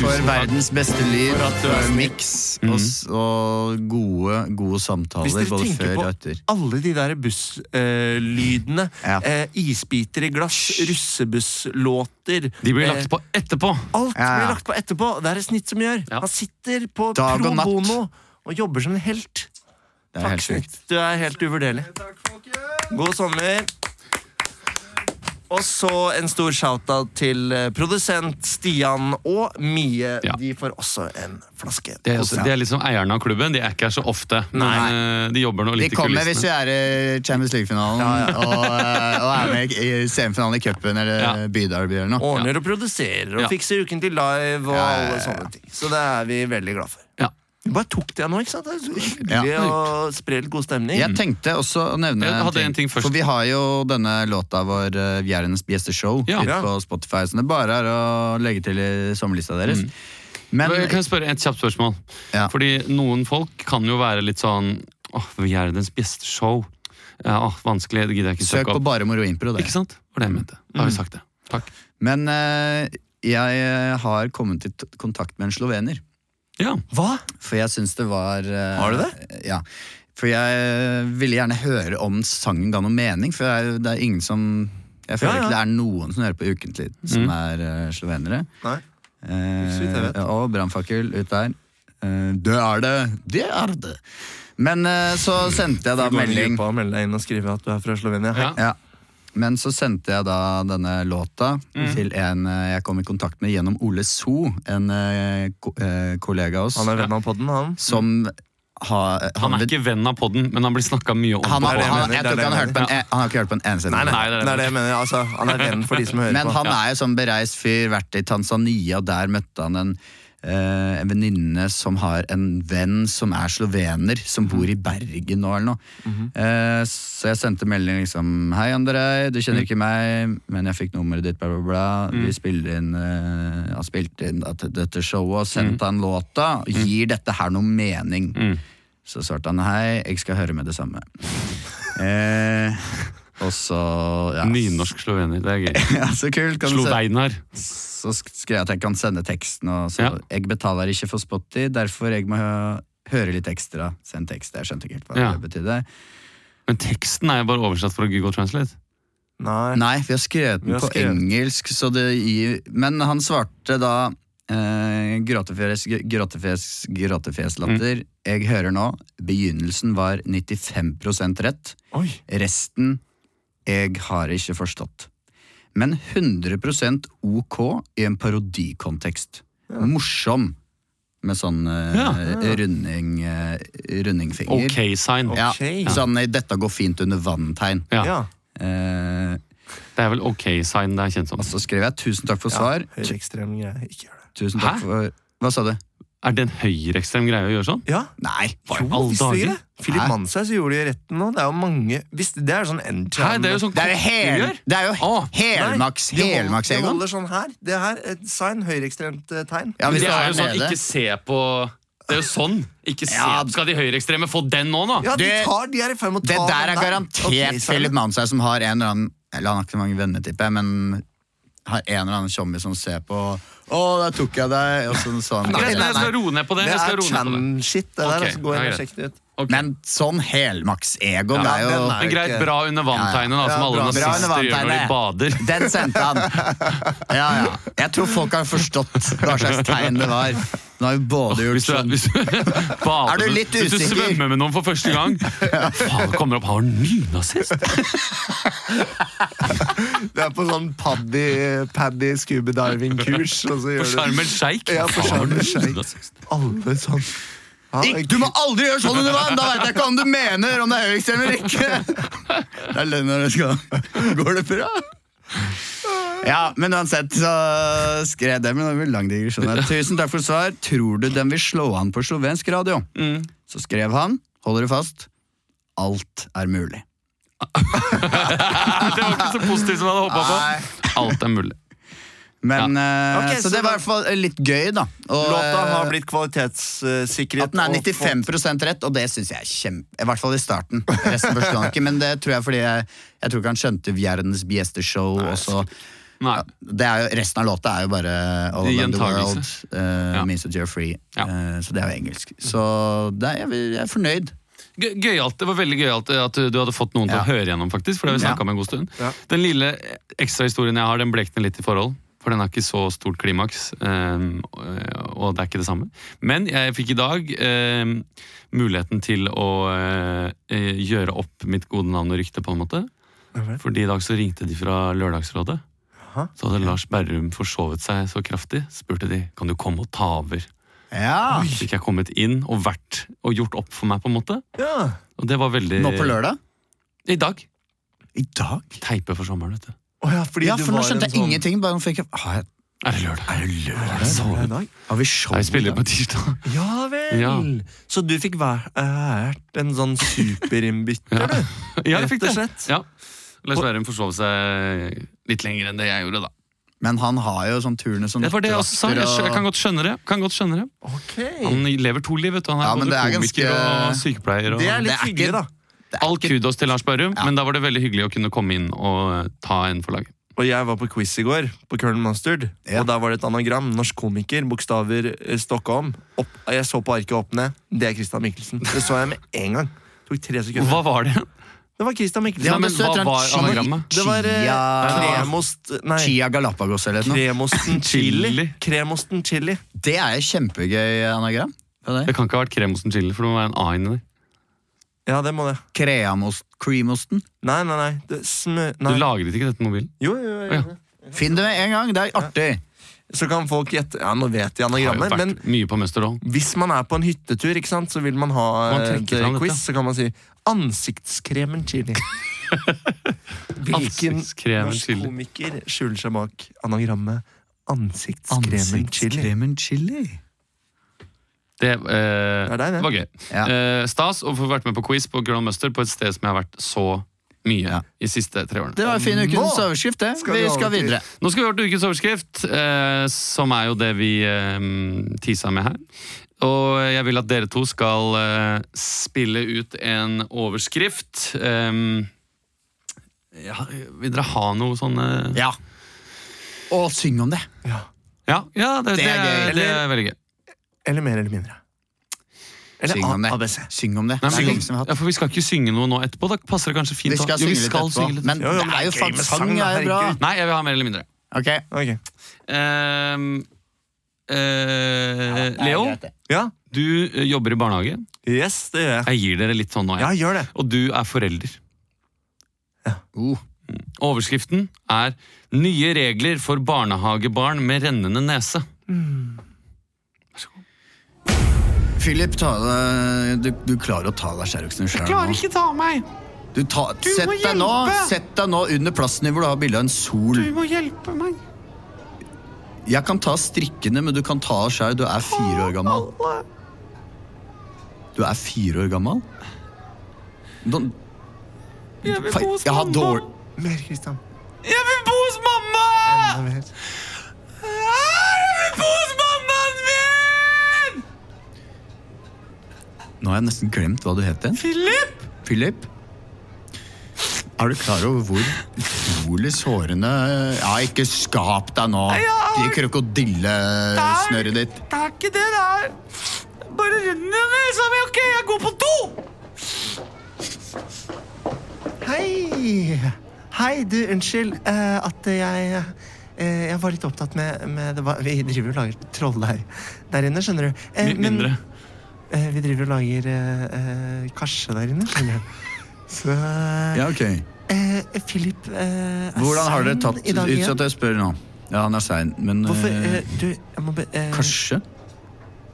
For Tusen takk. verdens beste lyd, For at du er for snill. miks og, s- og gode, gode Hvis samtaler dere både tenker før på og etter. alle de der busslydene, Ja. eh, isbiter i glass, russebusslåter De blir eh, lagt på etterpå. Alt Ja, ja. blir lagt på etterpå. Det er det Snitt som gjør. Ja. Han sitter på Dag pro og natt. bono og jobber som en helt. Det er Takk, helt sykt. Snitt. Du er helt uvurderlig. God sommer. Og så en stor shout-out til eh, produsent Stian og Mie. Ja. De får også en flaske. Det er, også, Prosit. det er litt som eierne av klubben. De er ikke her så ofte. Men eh, de jobber nå De litt i kommer hvis vi kulissene. er i Champions League-finalen og, eh, og er med i semifinalen i cupen eller Ja. Byderby eller noe. Ordner og produserer og Ja. fikser uken til live og Ja, ja, ja, alle ja. sånne ting. Så det er vi veldig glad for. Ja. Vi bare tok det nå, ikke sant? Det er så hyggelig Ja. å spre litt god stemning. Jeg tenkte også å nevne Jeg hadde en ting først. For vi har jo denne låta vår eh, Vi er hennes beste show Ja. ute på Spotify, så det bare er å legge til i sommerlista deres. Mm. Men Men Kan jeg spørre et kjapt spørsmål? Ja. Fordi noen folk kan jo være litt sånn Åh, vi er verdens beste show. Ja, åh, vanskelig, det gidder jeg ikke søk søke på Mm. opp. Bare Moro Impro, det. Ikke sant? Var det jeg mente. Da har vi sagt det. Takk. Men eh, jeg eh, har kommet i t- kontakt med en slovener. Ja. Hva? For jeg syns det var eh, Har du Ja. For jeg eh, ville gjerne høre om sangen ga noe mening, for jeg, det er ingen som Jeg føler Ja, ja. ikke det er noen som hører på Ukentlig, som Mm. er eh, slovenere. Nei. så vidt jeg Eh, vet. og brannfakkel ut der. Eh, det er det! Det er det! Men eh, så sendte jeg da Du går inn i melding gruppa og melder deg inn og skriver at du er fra Slovenia. Ja. ja. Men så sendte jeg da denne låta Mm. til en eh, jeg kom i kontakt med gjennom Ole So, en eh, ko eh, kollega av oss. Han er venn av podden, han. Som har Han er ikke venn av podden, men han blir snakka mye om. han på har, det jeg han, mener, jeg det er tror det ikke han jeg har hørt på en, en- han har ikke hørt på en eneste Nei, nei, Nei, det er det. det er det jeg mener. Altså, han er venn for de som hører Men på. han er jo sånn bereist fyr, vært i Tanzania, og der møtte han en, eh, en venninne som har en venn som er slovener, som bor i Bergen nå eller noe. Eh, så jeg sendte melding liksom Hei, Andrej, du kjenner ikke meg, men jeg fikk nummeret ditt, bla, bla, bla. Vi spiller inn eh, har spilt inn dette, dette showet og sendt han låta. Gir dette her noe mening? Så svarte han hei, jeg skal høre med det samme. eh, og så ja. Nynorsk slovener. Det er gøy. Ja, så kult. Kan du se- Sloveinar. så sk- skrev jeg at jeg kan sende teksten. Og så, Ja. Jeg betaler ikke for Spotty, derfor jeg må hø- høre litt ekstra. Send tekst. Jeg skjønte ikke helt hva Ja. det betydde. Men teksten er jo bare oversatt fra Google Translate. Nei. Nei, vi har skrevet Vi den har på skrevet. engelsk, så det gir Men han svarte da eh, gråtefjes, gr- gråtefjes, Mm. gråtefjeslatter. Jeg hører nå. Begynnelsen var 95 rett. Oi. Resten jeg har ikke forstått. Men 100 ok i en parodikontekst. Morsom, med sånn eh, Ja, runding eh, rundingfinger. OK sign. Ja, Ok. Sånn eh, 'dette går fint under vann'-tegn. Ja. Ja. Eh, Det er vel OK sign det er kjent som. og så skrev jeg 'tusen takk for ja. svar'. Høyreekstrem greie. Ikke gjør det. Tusen takk Hæ? for Hva sa du? Er det en høyreekstrem greie å gjøre sånn? Ja. Nei! Jo, alle visste du ikke dager? det? Philip Hæ? Manshaus gjorde det i retten nå. Det er jo mange visste, Det er sånn Nei, end-time. det er jo sånn Det er jo hel, gjør? det er jo Å, helmaks, Nei, de holder- helmaks, De Egon. holder sånn her. Det her, et sign. Høyreekstremt eh, tegn. Ja, hvis Det du er jo sånn, nede. ikke se på Det er jo sånn. Ikke se Ja. Skal de høyreekstreme få den nå, da? Ja, de, det- tar, de er i ferd med å Det ta der er den garantert Ok, signet. Philip Manshaug som har en eller annen Eller han har ikke så mange venner, tipper jeg, men har en eller annen tjommi som ser på Å, der tok jeg deg! Og sånn, sånn. Greit, men jeg skal roe ned på det. Det Jeg skal er roe ned på det. chan-shit. det der, Ok, altså, Gå ja, inn og greit. sjekk det ut. Ok. Men sånn helmaks Egon Ja, er jo den er- Men greit, ikke- bra under vann-tegnet, da, Ja, som alle bra- bra nazister under gjør når de vann-tegnet. bader. Den sendte han. Ja, ja. Jeg tror folk har forstått hva slags tegn det var. Nå har vi både gjort Hvis du, sånn. hvis du, bader, Er du litt hvis du usikker? svømmer med noen for første gang Faen, kommer opp Har du nynazist? Du er på sånn paddy, paddy scuba diving-kurs, og så På gjør Sharm el du Sheikh? Ja, på Faen, har du Sharm el Sheikh. nynazist? alle sånn Ja, Ikke- Du må aldri gjøre sånn under vann! Da veit jeg ikke om du mener om det er høyreekstrem eller ikke! Det er lønn når det skal Går det bra? Ja, men uansett så skrev det, men det var lang digresjon. her. Tusen takk for svar. Tror du den vil slå an på slovensk radio? Så skrev han, holder du fast, alt er mulig. Det var ikke så positivt som jeg hadde håpa på. Alt er mulig. Men, eh, Ok, så så, det var i da- hvert fall litt gøy, da. Og, Låta har eh, blitt kvalitetssikret. At den er og fått- 95 rett, og det syns jeg er kjempe... I hvert fall i starten. Resten forstår han ikke, men det tror jeg fordi jeg, jeg tror ikke han skjønte Vjernes Biesteshow også. Nei. Det er jo, resten av låta er jo bare All I Around the gjentagelse. World, eh, Ja. Means of Geoffrey. Ja. eh, så det er jo engelsk. Så det er, jeg, vil- jeg er fornøyd. Gøy- Gøyalt. Det var veldig gøyalt eh, at du- du hadde fått noen til Ja. å høre gjennom, faktisk. For det har vi snakket om en god stund. Ja. Den lille ekstrahistorien jeg har, den blekner litt i forhold. For den har ikke så stort klimaks, ehm, og det er ikke det samme. Men jeg fikk i dag ehm, muligheten til å eh, gjøre opp mitt gode navn og rykte, på en måte. Fordi i dag så ringte de fra Lørdagsrådet. Aha. Så hadde Lars Berrum forsovet seg så kraftig. Spurte de kan du komme og ta over. Ja! Så fikk jeg kommet inn og vært og gjort opp for meg, på en måte. Ja. Og det var veldig Nå på lørdag? i dag. I dag? Teipe for sommeren, vet du. Å ja, fordi Ja, du for nå var en skjønte jeg sånn- ingenting. Bare nå fikk jeg ah, jeg- Er det lørdag? Er det lørdag? Så Sovet. det i dag. Har vi show? Nei, vi i spiller dag? på tirsdag. Ja vel! Ja. Så du fikk vært en sånn superinnbytter, du? Ja, jeg Rett fikk og det. slett. Ja. Lars Berrum forsov seg litt lenger enn det jeg gjorde, da. Men han har jo sånn turnus som Det var det jeg også sa. Jeg, skjø- jeg kan godt skjønne det. Kan godt skjønne det. Ok. Han lever to liv, vet du. Han er Ja, men både det er komiker ganske- og sykepleier. Og... Det er Det litt er hyggelig, ikke- da. All kudos til Lars Berrum, men da var det veldig hyggelig å kunne komme inn og eh, ta en for laget. Og jeg var på quiz i går, på Colonel Mustard. Ja. Og der var det et anagram. Norsk komiker, bokstaver eh, Stockholm. Opp, jeg så på arket opp ned. Det er Christian Michelsen. Det så jeg med en gang. Det tok tre sekunder. Hva var det? Det var Christian Ja, Nei, men Michelsen. men så hva heter han var Chi- anagrammet? det var eh, Chia- kremost Nei. Chia Galapagos eller noe. Kremosten chili. Chili. Kremosten chili. Det er et kjempegøy anagram. Hva er det? Det kan ikke ha vært kremosten chili, for det må være en A inni der. Ja, det må det. Kreamost, creamosten. Nei, nei, nei. Det smø... Du Nei. lagret ikke dette mobilen? Jo, jo, jo, Ja. jo. Finn det med en gang, det er artig. Så kan folk gjette Ja, nå vet de Det har jo anagrammer, men vært mye på Møsterdalen. hvis man er på en hyttetur, ikke sant, så vil man ha Man eh, trekker fram et quiz, dette. så kan man si ansiktskremen chili. Hvilken Ansiktskremen norsk chili. komiker skjuler seg bak anagrammet ansiktskremen chili? Ansiktskremen chili. Det, eh, er deg, det. var gøy. Ja. Eh, stas å få vært med på quiz på Grand Mustard på et sted som jeg har vært så mye Ja. i siste tre årene. Det var en fin ukens overskrift, det. skal vi vi skal over til- videre. Nå skal vi over til ukens overskrift, eh, som er jo det vi eh, tisa med her. Og jeg vil at dere to skal eh, spille ut en overskrift. Eh, ja, vil dere ha noe sånn eh, Ja. Og syng om det. Ja, ja, det, det, Det er er, gøy. det er veldig gøy. Eller mer eller mindre. Eller Syng om A- det. ABC. Syng om det. Nei, Det er men, lenge siden vi har hatt. ja, for vi skal ikke synge noe nå etterpå. Da passer det kanskje fint Vi å- skal jo, synge litt litt. Jo, jo, etterpå. Men det men er jo det er gøy faktisk med sang sang, da, er jo bra. herregud. Nei, jeg vil ha mer eller mindre. Ok. Ok. Ehm, eh, Leo, Ja. du eh, jobber i barnehage. Yes, det gjør jeg. Jeg gir dere litt sånn nå. Ja, Jeg. gjør det. Og du er forelder. Oh. Overskriften er 'Nye regler for barnehagebarn med rennende nese'. Philip, ta deg, du, du klarer å ta deg skjæroksen sjøl. Klarer ikke ta meg! Du, ta, sett, deg nå, sett deg nå under plassen din hvor du har bilde av en sol. Du må hjelpe meg! Jeg kan ta strikkene, men du kan ta av sjøl. Du er fire år gammel. Du er fire år gammel? Nå- Jeg vil Fa- bo hos jeg har mamma! dårlig Mer, Christian. Jeg vil bo hos mamma! Enda mer. Jeg vil bo hos mammaen min! Nå har jeg nesten glemt hva du het igjen. Philip! Philip? Er du klar over hvor utrolig sårende Ja, ikke skap deg nå. Ja. I krokodillesnøret ditt. Det er ikke det det er. Bare renner nesa mi. Ok, jeg går på do! Hei! Hei, du, unnskyld eh, at jeg eh, Jeg var litt opptatt med, med det, var- Vi driver og lager trolldeig der inne, skjønner du. Eh, Mi- men- Mindre. eh, vi driver og lager eh, eh, karse der inne, skjønner du. Så Ja, ok. eh, Philip eh, er Hvordan har dere sein tatt i dag igjen? ut sånn at jeg spør nå? Ja, han er sein, men Hvorfor eh, eh, Du, jeg må be... Eh, Kanskje?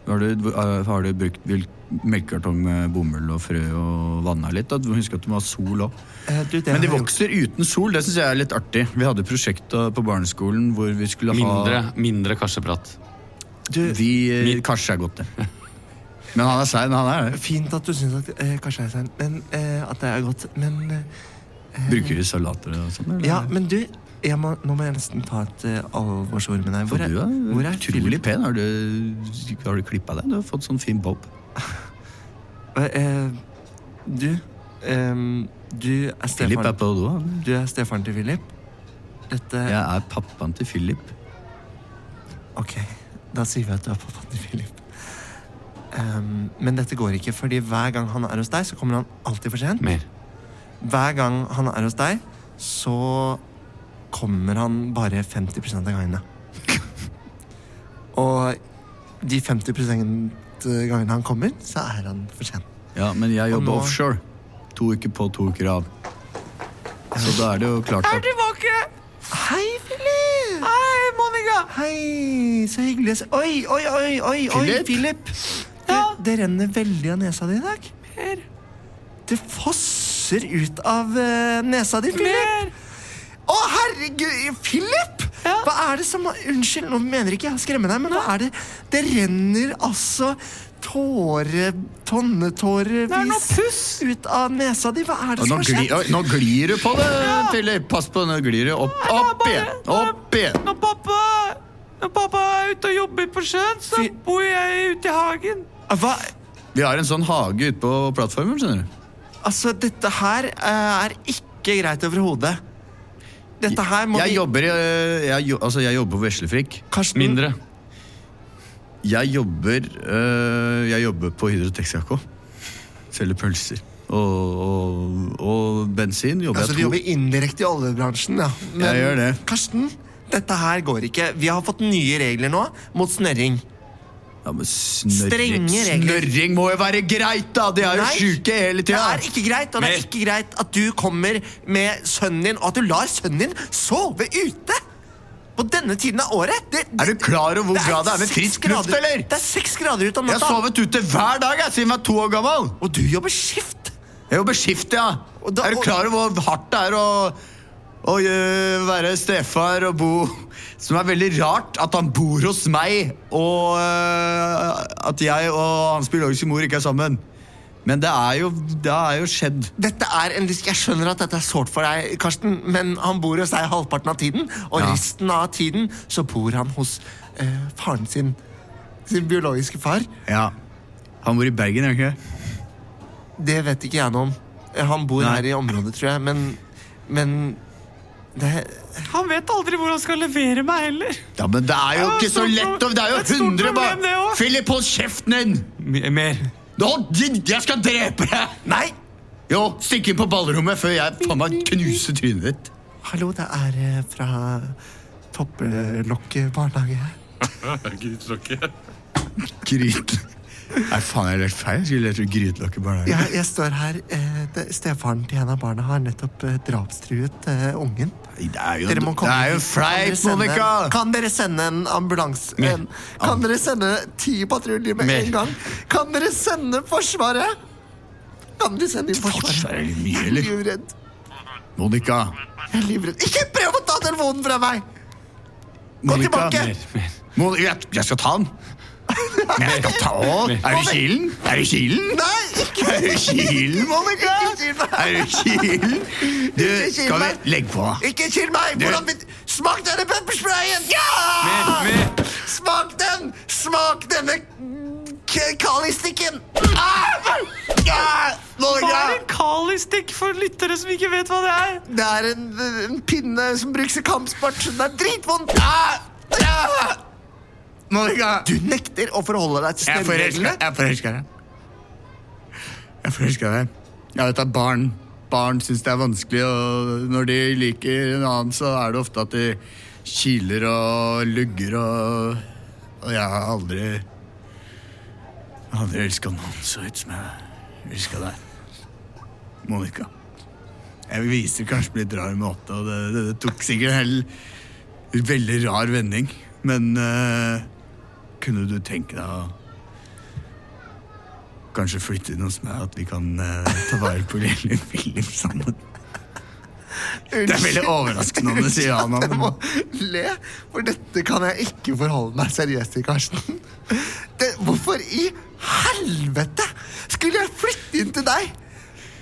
Har du, hvor- eh, har du brukt vil- melkekartong med bomull og frø og vanna litt? Da? Du må huske at du må ha sol òg. eh, du, det Men de har jeg vokser uten sol, det syns jeg er litt artig. Vi hadde prosjekt da på barneskolen hvor vi skulle ha Mindre, mindre karseprat. gjort. Du, Vi, eh, Min- Kanskje er godt, det. Men han er sein, han er det. Fint at du syns at eh, kanskje jeg er sein, men eh, at det er godt. Men eh, Bruker de salater og sånn? eller? Ja, men du, jeg må, nå må jeg nesten ta et eh, alvorsord med deg. For Hvor er, du er hvor er utrolig Philip? pen. Har du, har du klippa deg? Du har fått sånn fin bob. Eh, eh, du ehm, Du er Philip er stefaren, på do. han. du er stefaren til Philip. Dette Jeg er pappaen til Philip. Ok, da sier vi at du er pappaen til Philip. Ehm, men dette går ikke, fordi hver gang han er hos deg, så kommer han alltid for sent. Mer. Hver gang han er hos deg, så kommer han bare 50 av gangene. Og de 50 gangene han kommer, så er han for sent. Ja, men jeg Og jobber nå- offshore. To uker på, to uker av. Så da er det jo klart at Hei, Philip! Hei, Monica! Hei, så hyggelig å se Oi, oi, oi, oi, oi, Philip? Philip! Det, det renner veldig av nesa di i dag. Mer. Det fosser ut av eh, nesa di, Philip. Å, herregud! Philip! Hva er det som Unnskyld, nå mener ikke jeg å skremme deg, men hva er det Det renner altså tåre... Tonnetårevis ut av nesa di. Hva er det Og nå, som har gli, skjedd? Oi, nå glir du på det, Philip! Pass på, nå glir du opp, opp igjen! Opp igjen! Når pappa, når pappa er ute og jobber på sjøen, så Fy- bor jeg ute i hagen. Hva Vi har en sånn hage ute på plattformen, skjønner du. Altså, dette her eh, er ikke greit overhodet. Dette her må Jeg vi jobber, i, eh, jeg, jo- altså, jeg jobber på Veslefrikk. Karsten, Mindre. Jeg jobber eh, Jeg jobber på Hydro Texaco. Selger pølser. Og, og, og bensin jobber Altså, du jeg to. jobber indirekte i oljebransjen, ja. Men, Jeg gjør det. Karsten, dette her går ikke. Vi har fått nye regler nå mot snørring. Ja, men snørring, Strenge regler. snørring må jo være greit, da! De er jo Nei, sjuke hele Det tida! er ikke greit, og det Men- er ikke greit at du kommer med sønnen din, og at du lar sønnen din sove ute! På denne tiden av året! Det, det, Er du klar over hvor bra det er med seks frisk grader- luft, eller? Det er seks grader ute om Jeg har natta, sovet ute hver dag jeg, siden jeg var to år gammel! og du jobber skift! Jeg jobber skift, ja. Og da- er du klar over hvor hardt det er å, å øh, være stefar og bo Som er veldig rart at han bor hos meg, og øh, at jeg og hans biologiske mor ikke er sammen. Men det er jo, det er jo skjedd. Dette er en risk. Jeg skjønner at dette er sårt for deg, Karsten, men han bor hos deg halvparten av tiden, og Ja. resten av tiden så bor han hos eh, faren sin. Sin biologiske far. Ja. Han bor i Bergen, gjør han ikke? det? Det vet ikke jeg noe om. Eh, Han bor Nei. her i området, tror jeg, men Men det Han vet aldri hvor han skal levere meg heller. Ja, men det er jo Ja, ikke så stort lett å problem. Det er Et jo stort 100 problem, det bare også. Philip, hold kjeften din! Mer. Nå, jeg skal drepe deg! Nei! Jo, stikk inn på ballrommet før jeg faen meg knuser trynet ditt. Hallo, det er eh, fra Topplokket barnehage. Gryt. Nei, faen, jeg lærte feil. Jeg skulle lært å grytlokke barnehagen. Jeg, jeg står her. Eh, det- Stefaren til en av barna har nettopp eh, drapstruet eh, ungen. Nei, Det er jo, Dere må det komme er jo hit. Kan dere fleip, sende- Monica! Kan dere sende en ambulanse? En, kan dere sende ti patruljer med Mer. en gang? Kan dere sende Forsvaret? Kan dere sende inn Forsvaret Forsvaret? er mye, Jeg er eller? livredd. Monica! Jeg er livredd. Ikke prøv å ta telefonen fra meg! Gå Monica. tilbake! Mer. Mer. Mon jeg, jeg skal ta den. Jeg skal ta den. Er du kilen? Er du kilen? Nei, ikke Er du kilen, Monica? Ikke kill meg. Er du kilen? Du, Ikke kill skal vi meg. legge på? ikke kill meg! Hvordan vil Smak denne peppersprayen! Ja! Mer. Mer. Smak den! Smak denne k- kalistikken! Ah! Ja! Hva Monica! er en kalistikk for lyttere som ikke vet hva det er? Det er en, en pinne som brukes i kampsport. Den er dritvond! Ah! Ah! Monica! Du nekter å forholde deg til Jeg forelsker stemmereglene. Jeg forelsker deg. Jeg forelsker deg. Ja, dette er barn. barn syns det er vanskelig, og når de liker en annen, så er det ofte at de kiler og lugger og Og jeg har aldri Jeg har aldri elska noen så høyt som jeg elska deg. Monica. Jeg viser kanskje litt rar måte, og det, det, det tok sikkert en hel veldig rar vending, men eh, kunne du tenke deg å Kanskje flytte inn hos meg, at vi kan eh, ta vare på lille Philip sammen. Det er veldig overraskende om du sier ja nå. Jeg må men- le, for dette kan jeg ikke forholde meg seriøst til, Karsten. Det, hvorfor i helvete skulle jeg flytte inn til deg?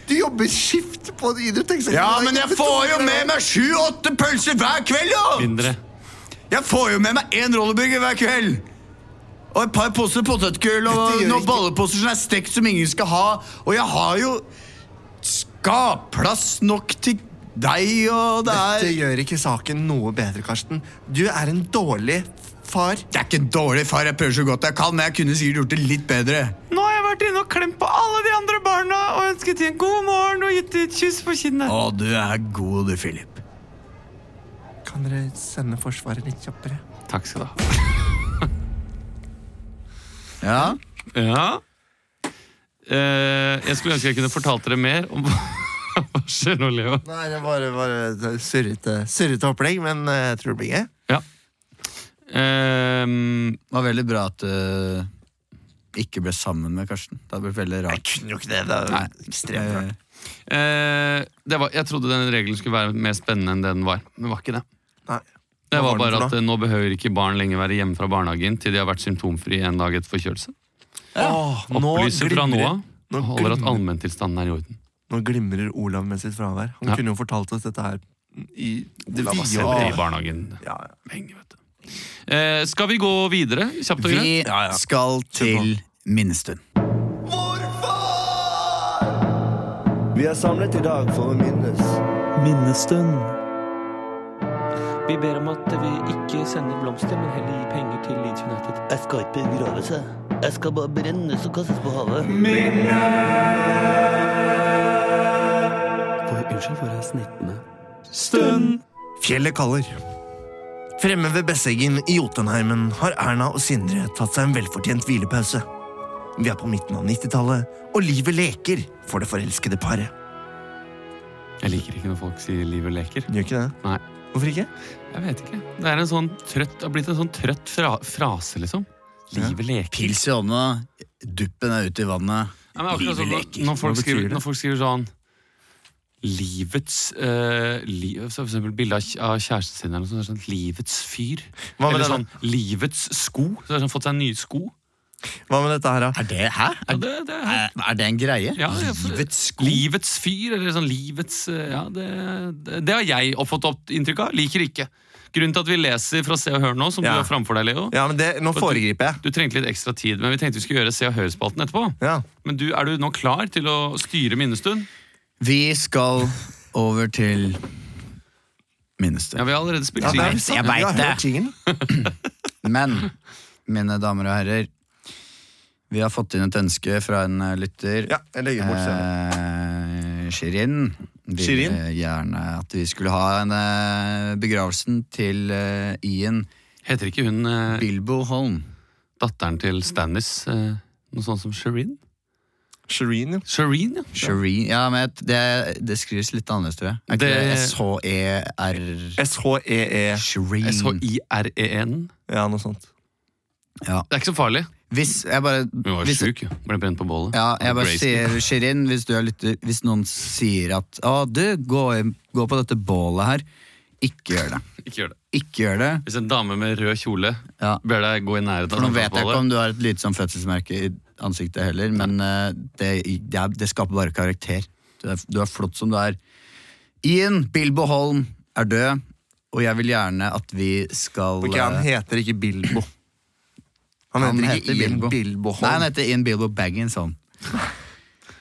Du jobber skift på idrettseksamen. Ja, men jeg får jo med meg sju-åtte pølser hver kveld, jo! Mindre. Jeg får jo med meg én rollerburger hver kveld! Og et par poser potetgull Dette og gjør noen ikke- bolleposer som er stekt som ingen skal ha. Og jeg har jo skapplass nok til deg, og det er Dette gjør ikke saken noe bedre, Karsten. Du er en dårlig far. Jeg er ikke en dårlig far, jeg prøver så godt jeg kan, men jeg kunne sikkert gjort det litt bedre. Nå har jeg vært inne og klemt på alle de andre barna og ønsket dem god morgen og gitt dem et kyss på kinnet. Å, du er god, du, Philip. Kan dere sende Forsvaret litt kjappere? Takk skal du ha. Ja? Ja. Eh, jeg skulle ønske jeg kunne fortalt dere mer om Hva skjer nå, Leo? Nei, det var bare et surrete, surrete opplegg, men eh, jeg tror det blir gøy. Eh, Det var veldig bra at du ikke ble sammen med Karsten. Det hadde blitt veldig rart. Kunne jo ikke det. Det er Nei. jo ekstremt rart. Eh, det var, jeg trodde den regelen skulle være mer spennende enn det den var. Men det var ikke det. Nei. Det Hva var var den bare for at eh, Nå behøver ikke barn lenger være hjemme fra barnehagen til de har vært symptomfri en dag etter forkjølelse. Åh, nå Opplyser fra nå glimrer- av Nå holder at glimrer- allmenntilstanden er i orden. Nå glimrer Olav med sitt fravær. Han Ja. kunne jo fortalt oss dette her i det Olav har vide sett det i år. barnehagen Ja, ja. lenge, vet du. Eh, skal vi gå videre? Kjapt og greit? Vi skal til minnestund. Vi er samlet i dag for å minnes. Minnestund. Vi ber om at vi ikke sender blomster, men heller gir penger til Leeds United. Jeg skal ikke begraves, jeg. Jeg skal bare brennes og kastes på havet. For, unnskyld for jeg snittende. Fjellet kaller. Fremme ved Besseggen i Jotunheimen har Erna og Sindre tatt seg en velfortjent hvilepause. Vi er på midten av 90-tallet, og livet leker for det forelskede paret. Jeg liker ikke når folk sier 'livet leker'. Gjør ikke det? Nei. Hvorfor ikke? Jeg vet ikke. Det er en sånn trøtt, det har blitt en sånn trøtt fra, frase, liksom. Livet leker. Pils i hånda, duppen er ute i vannet. Nei, men akkurat sånn, Livet når, leker. når, folk Hva betyr skriver, det? når folk skriver sånn Livets eh, li, så For eksempel bilde av, kj- av kjæresten sin. Eller noe sånt, så er det sånn, livets fyr. Hva med eller det da? sånn Livets sko. Så har han fått seg nye sko. Hva med dette her, da? Er det hæ? Ja, det, det er, Er, er det en greie? Ja, ja, for- Livets sko? livets fyr, eller sånn livets eh, Ja, det, det, det har jeg opp- fått opp inntrykk av. Liker ikke. Grunnen til at vi leser fra Se og Hør nå, som du Ja. har framfor deg, Leo Ja, men det, Nå foregriper jeg. Du trengte litt ekstra tid, men vi tenkte vi skulle gjøre Se og Hør-spalten etterpå. Ja. Men du, er du nå klar til å styre minnestund? Vi skal over til Ja, minnestund. vi har allerede spilt Ja, det er jingle. vi sant. jeg Vi vet har det. hørt jinglen. Men, mine damer og herrer, vi har fått inn et ønske fra en eh, lytter. Ja, jeg legger bort scenen. Eh, Shirin ville Shirin? gjerne at vi skulle ha en eh, begravelsen til eh, Ian Heter ikke hun eh, Bilbo Holm. datteren til Stannis eh, noe sånt som Shireen? Shireen, jo. Shireen, ja. Shirin Ja, men jeg- det, det skrives litt annerledes, tror jeg. Er ikke E Det- det S-H-E-R SHEE. Shirin. E S-H-I-R-E-N. E Ja, noe sånt. Det er ikke så farlig. Hvis jeg bare Hun var jo hvis, sjuk. jo. Ble brent på bålet. ja, jeg bare Grayson. sier, Shirin, hvis, du er lytter, hvis noen sier at Å, du, gå, i- gå på dette bålet her. Ikke gjør det. Ikke gjør det. Ikke gjør det. Hvis en dame med rød kjole Ja. ber deg gå i nærheten For av nå vet jeg ikke samtaleballet om du har et lydsomt fødselsmerke i ansiktet heller, men eh, det, det, er, det skaper bare karakter. Du er, du er flott som du er. Ian Bilbo Holm er død, og jeg vil gjerne at vi skal Ok, Han eh, heter ikke Bilbo. Han, heter ikke Ian Bilbo. Nei, Holm. han heter Ian Bilbo Baggins Holm. Han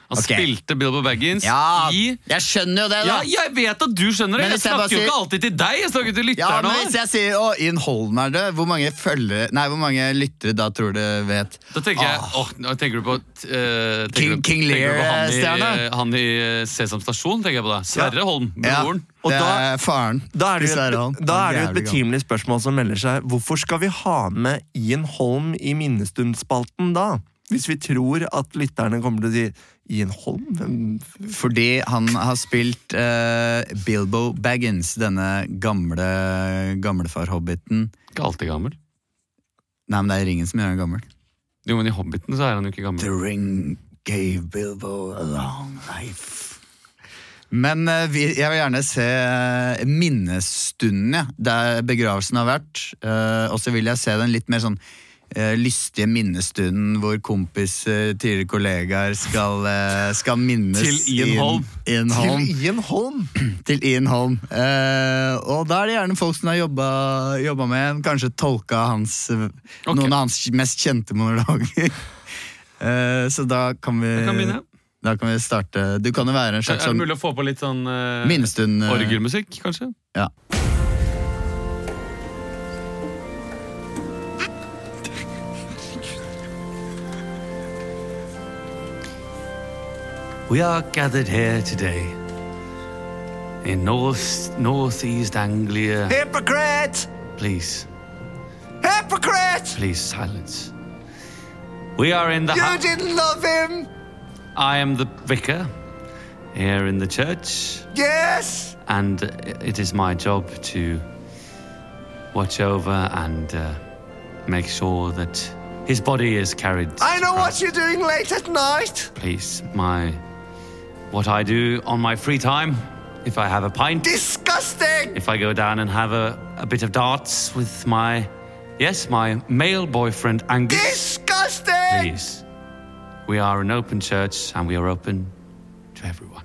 Han Ok. spilte Bilbo Baggins Ja, i jeg skjønner jo det, da. ja, jeg vet at du skjønner det! Men Jeg hvis jeg bare snakker jo sier- ikke alltid til deg, jeg snakker til Ja, lytterne. men også. hvis jeg sier å, Ian Holm er død, hvor mange følgere Nei, hvor mange lyttere da tror du vet? Da tenker jeg åh, nå tenker du på eh, tenker King- du- King tenker du på han i- Lear-stjerne? Han i eh, Sesam Stasjon, tenker jeg på deg. Sverre Holm, broren. Og Ah, det da- er faren. Da er det jo Dessverre, han. et, da er det Han jo et jævlig gammel. betimelig spørsmål som melder seg. Hvorfor skal vi ha med Ian Holm i minnestundspalten da? Hvis vi tror at lytterne kommer til å si Ian Holm? Hvem- Fordi han har spilt eh, Bilbo Baggins, denne gamle gamlefar-hobbiten. Ikke alltid gammel. Nei, men det er ringen som gjør ham gammel. Jo, men i Hobbiten så er han jo ikke gammel. The ring gave Bilbo a long life. Men eh, vi, jeg vil gjerne se eh, minnestunden, ja, der begravelsen har vært. Eh, og så vil jeg se den litt mer sånn eh, lystige minnestunden hvor kompiser, tidligere kollegaer, skal, eh, skal minnes Til Ian Holm. Ian- Ian Holm. Til Ian Holm? til Ian Holm. Eh, og da er det gjerne folk som har jobba, jobba med ham, kanskje tolka hans, eh, Ok. noen av hans mest kjente monologer. Eh, så da kan vi Jeg kan begynne. Da kan vi starte. Du kan jo være en Er slags det sånn mulig å få på litt sånn eh, minnestund... eh, orgelmusikk, kanskje? Ja. We are gathered here today in North Northeast Anglia. Hypocrite! Please. Hypocrite! Please silence. We are in the. You didn't love him. I am the vicar here in the church. Yes. And it is my job to watch over and uh, make sure that his body is carried. I know what you're doing late at night. please. My what I do on my free time, if I have a pint, Disgusting! if I go down and have a, a bit of darts with my yes, my male boyfriend Angus. Disgusting! Please. We are an open church and we are open to everyone.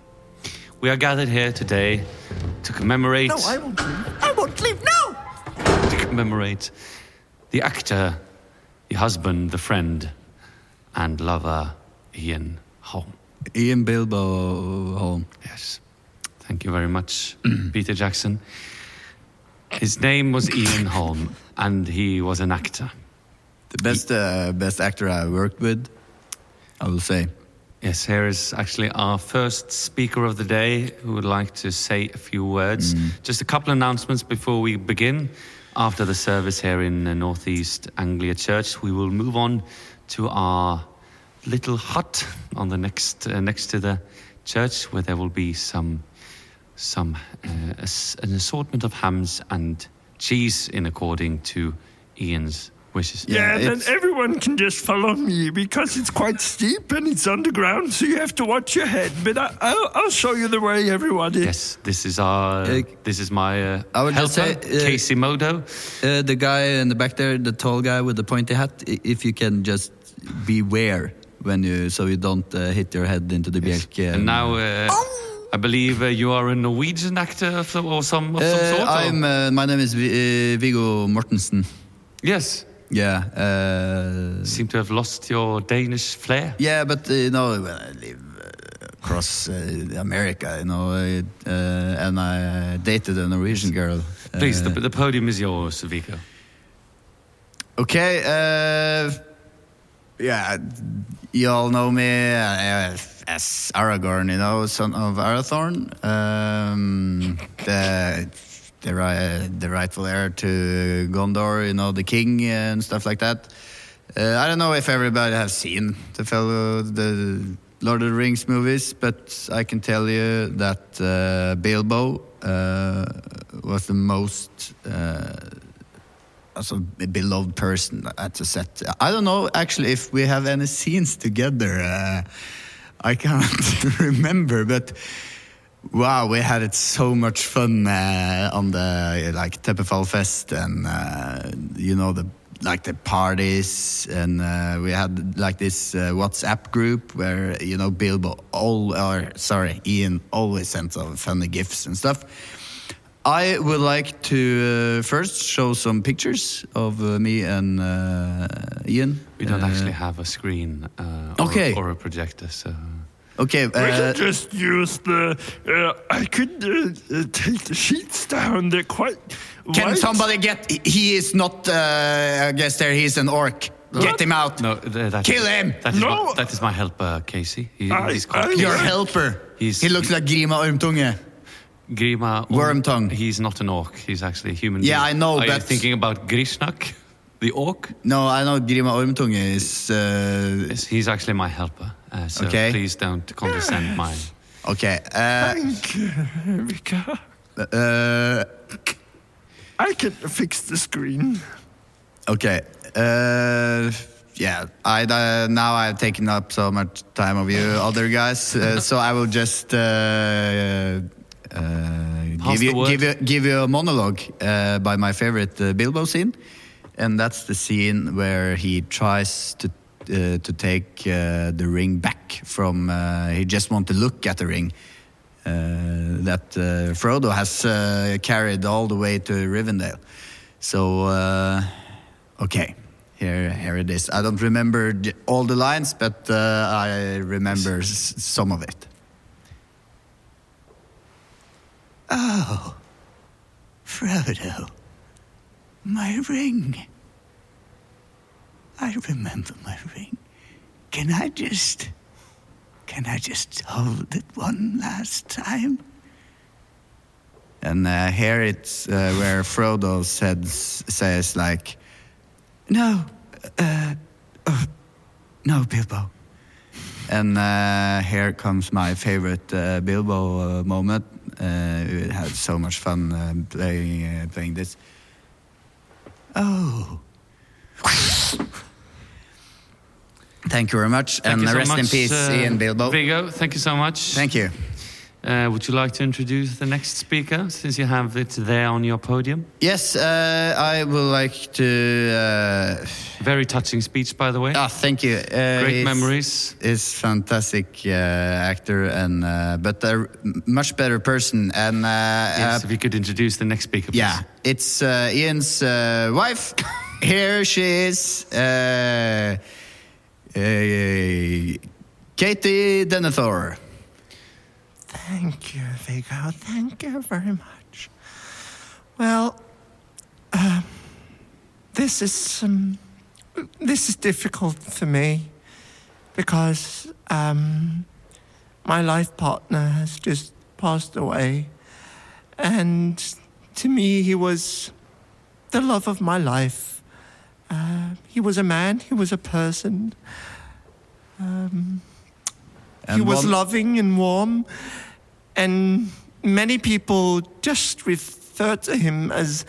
We are gathered here today to commemorate won't leave. I won't leave. No! to commemorate the actor, the husband, the friend, and lover Ian Holm. Ian Bilbo Holm. Yes. Thank you very much, Peter Jackson. His name was Ian Holm, and he was an actor. The best, eh, best actor I worked with, I will say. Yes, here is actually our first speaker of the day who would like to say a few words. Just a couple announcements before we begin. After the service here in uh, Northeast Anglia Church, we will move on to our little hut on the next uh, next to the church, where there will be some some uh, ass- an assortment of hams and cheese, in according to Ian's wishes. Yeah, And it's- everyone can just follow me because it's quite steep and it's underground, so you have to watch your head. But I, I'll, I'll show you the way, everybody. Yes, this is our. Uh, this is my uh, I would helper, just say, uh, Casey Modo. Uh, the guy in the back there, the tall guy with the pointy hat, i- if you can just beware when you, so you don't uh, hit your head into the eh. bjelke. And now, uh, I believe uh, you are a Norwegian actor of some, or some of some Uh, sort. or- I'm, uh, my name is Vi- uh, Viggo Mortensen. yes, Yeah. Uh, seem to have lost your Danish flair. yeah, but uh, you know, when I live uh, across uh, America, you know, I, uh, and I dated a Norwegian girl. Uh, Please, the, the podium is yours, Vico. Okay. Uh, yeah, you all know me uh, as Aragorn, you know, son of Arathorn, um, the the, ri- the rightful heir to Gondor, you know, the king and stuff like that. Uh, I don't know if everybody has seen the fellow the Lord of the Rings movies, but I can tell you that uh, Bilbo uh, was the most. Uh, also a beloved person at the set. I don't know actually if we have any scenes together. Uh, I can't remember, but wow, we had it so much fun uh, on the uh, like Teppefall Fest and uh, you know the like the parties and uh, we had like this uh, WhatsApp group where you know Bilbo all or sorry Ian always sent some funny gifts and stuff. I would like to uh, first show some pictures of uh, me and uh, Ian. We don't Uh, actually have a screen uh, or, Okay. or a projector, so Ok, eh, just use the. Uh, I could uh, uh, take the sheets down. They're quite. can white. somebody get He is not, uh, I guess there he is an orc. Get him out. No, th- that Kill is- him! That is, No! my, that is my helper, Casey. He, I- he's called I- Casey. Your helper. He's- he looks like Grima Ormtunge. Grima. Wormtongue. He's not an orc. He's actually a human. Yeah, being. I know, Are you that's- thinking about Grishnak, the orc? No, I know Grima Ormtunge is... Uh, Yes, he's actually my helper. Uh, so Okay. Ah. please don't condescend my. okay. Uh, Erika, uh, I can fix the screen. okay. Uh, yeah, I, uh, now I've taken up so much time of you other guys, uh, so I will just... Uh, uh, give, the you, word. give, you, give you a monologue uh, by my favorite uh, Bilbo scene, and that's the scene where he tries to uh, to take uh, the ring back from. Uh, he just want to look at the ring uh, that uh, Frodo has uh, carried all the way to Rivendell. So uh, okay. Here, here it is. I don't remember j- all the lines, but uh, I remember s- some of it. Oh, Frodo, my ring. I remember my ring. Can I just. Can I just hold it one last time? And uh, here it's uh, where Frodo said, says, like, No, uh, oh, no, Bilbo. And uh, here comes my favorite uh, Bilbo uh, moment. Uh, we had so much fun uh, playing uh, playing this. Oh. Thank you very much, Thank and you so rest in much, peace, uh, Ian Bilbo. Viggo, thank you so much. Thank you. Uh, would you like to introduce the next speaker since you have it there on your podium? Yes, uh, I would like uh, to. Very touching speech, by the way. Uh, ah, thank you. Uh, Great he's- memories. Is fantastic uh, actor and uh, but a r- much better person and uh, Yes, uh, if you could introduce the next speaker, please. Yeah, it's uh, Ian's uh, wife. Here she is. Uh, uh, Katie Denethor. Thank you, Viggo. Thank you very much. Well, uh, this is um, this is difficult for me because um, my life partner has just passed away, and to me, he was the love of my life. Uh, he was a man. He was a person. he And was one- loving and warm, and many people just refer to him as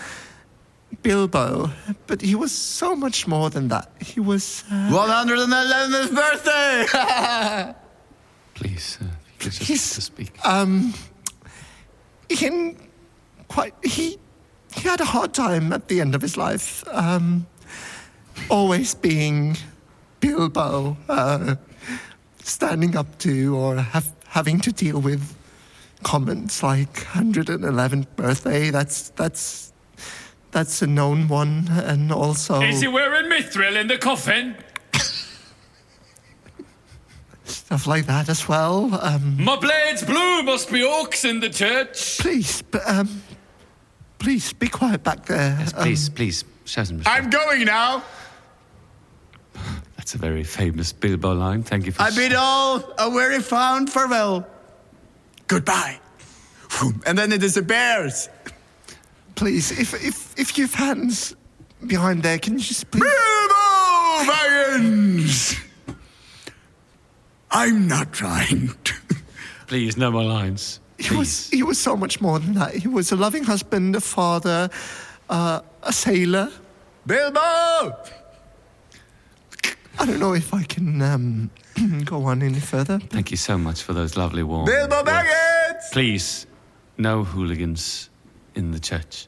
Bilbo, but he was so much more than that. He was. Uh, 111th birthday! Please, uh, if you could just, Please. just speak. um, in quite he he had a hard time at the end of his life, um, always being Bilbo, uh, standing up to or have, having to deal with comments like 111th birthday. That's that's that's a known one, and also wearing mithril in the coffin? stuff like that as well. Um, My blade's blue must be orcs in the church. please, but, um, please be quiet back there. Yes, Um, please, please, show some respect. going now. That's a very famous Bilbo line. Thank you for I bid all a very fond farewell. Goodbye. And then it disappears. Please, if if if you've hands behind there, can you just please? Bilbo Baggins! I'm not trying to. Please, no more lines. He was Please. he was so much more than that. He was a loving husband, a father, uh, a sailor. Bilbo! I don't know if I can um, go on any further. Thank you so much for those lovely warm. Bilbo words. Baggins! Please, no hooligans in the church.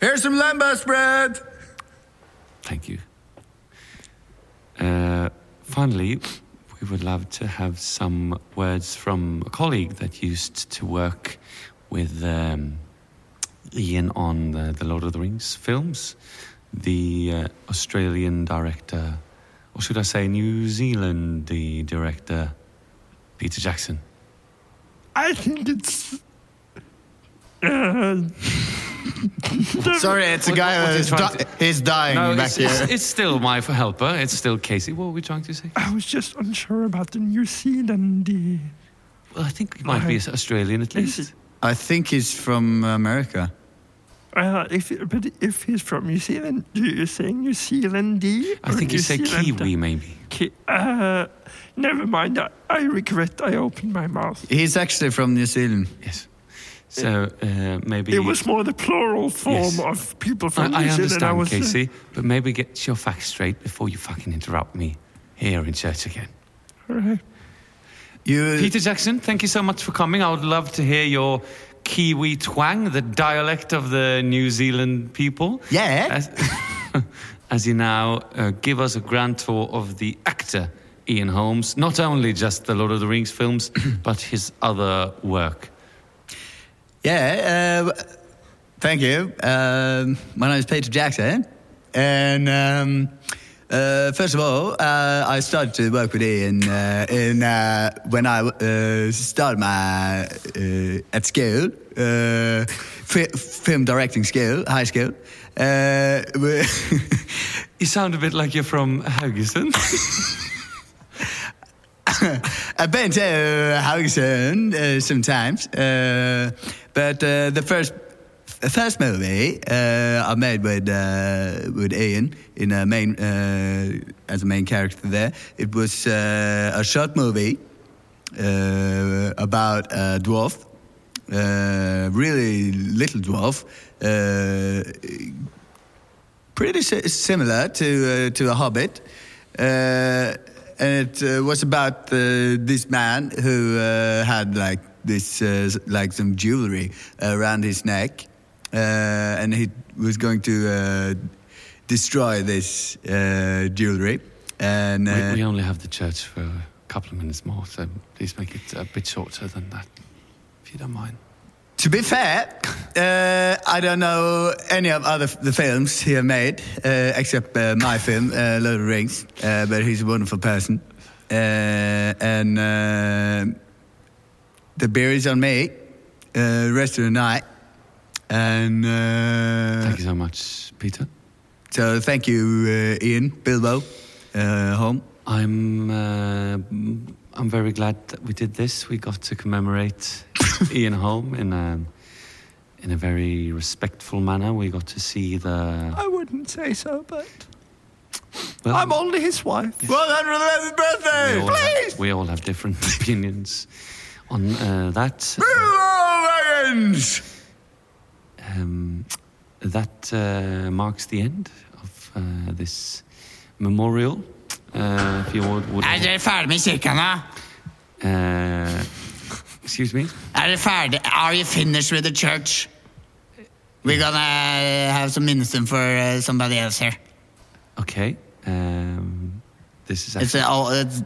Here's some lambas bread! Thank you. Uh, finally, we would love to have some words from a colleague that used to work with um, Ian on the, the Lord of the Rings films, the uh, Australian director, or should I say New Zealand the director, Peter Jackson? I think it's. Uh, Sorry, it's a What- guy what- who's what are you di- trying he's dying No, back it's, here. it's, it's still my f- helper. It's still Casey. What were we trying to say? I was just unsure about the New Zealand. uh, Well, I think he might be Australian at Is least. I think he's from America. Uh, if but if he's from New Zealand, do you say New Zealandese? I think you say Kiwi, maybe. Ki- uh, never mind. I, I regret I opened my mouth. He's actually from New Zealand. Yes. So uh, maybe It was more the plural form Yes. of people from I, I New Zealand. understand, was, uh, Casey, but maybe get your facts straight before you fucking interrupt me here in church again. all right. You Peter Jackson, thank you so much for coming. I would love to hear your Kiwi twang, the dialect of the New Zealand people. Yeah. As, as you now uh, give us a grand tour of the actor Ian Holmes, not only just the Lord of the Rings films, but his other work. Yeah, uh, thank you. Um, my name is Peter Jackson. And um, uh, first of all, uh, I started to work with Ian uh, in, uh, when I uh, started my uh, at school, uh, fi- film directing school, high school. Uh, we- You sound a bit like you're from Haugesund. I've been to Uh, Haugesund uh, sometimes, uh, but uh, the first the first movie uh, I made with uh, with Ian in a main uh, as a main character there, it was uh, a short movie uh, about a dwarf, uh, really little dwarf. Uh, pretty si- similar to uh, to a Hobbit, uh, and it uh, was about uh, this man who uh, had like this uh, s- like some jewelry around his neck, uh, and he was going to uh, destroy this uh, jewelry. And we, uh, we only have the church for a couple of minutes more, so please make it a bit shorter than that, if you don't mind. To be fair, uh, I don't know any of other the films he made uh, except uh, my film, uh, Lord of the Rings. Uh, but he's a wonderful person, uh, and uh, the beer is on me. Uh, rest of the night, and uh, Thank you so much, Peter. so thank you, uh, Ian Bilbo, uh, home. I'm uh, I'm very glad that we did this. We got to commemorate Ian Holm in a in a very respectful manner. We got to see the. I wouldn't say so, but well, I'm only his wife. One hundred eleventh we birthday, all, please. have, we all have different opinions on uh, that. Bilbo Baggins! Um, that uh, marks the end of uh, this memorial. Uh, if you would, would Er dere ferdig med kirka nå? uh, excuse me. Er dere ferdig? Are you finished with the church? We're gonna uh, have some minister for uh, somebody else here. Okay. Um, this is It's actually, a, oh, it's,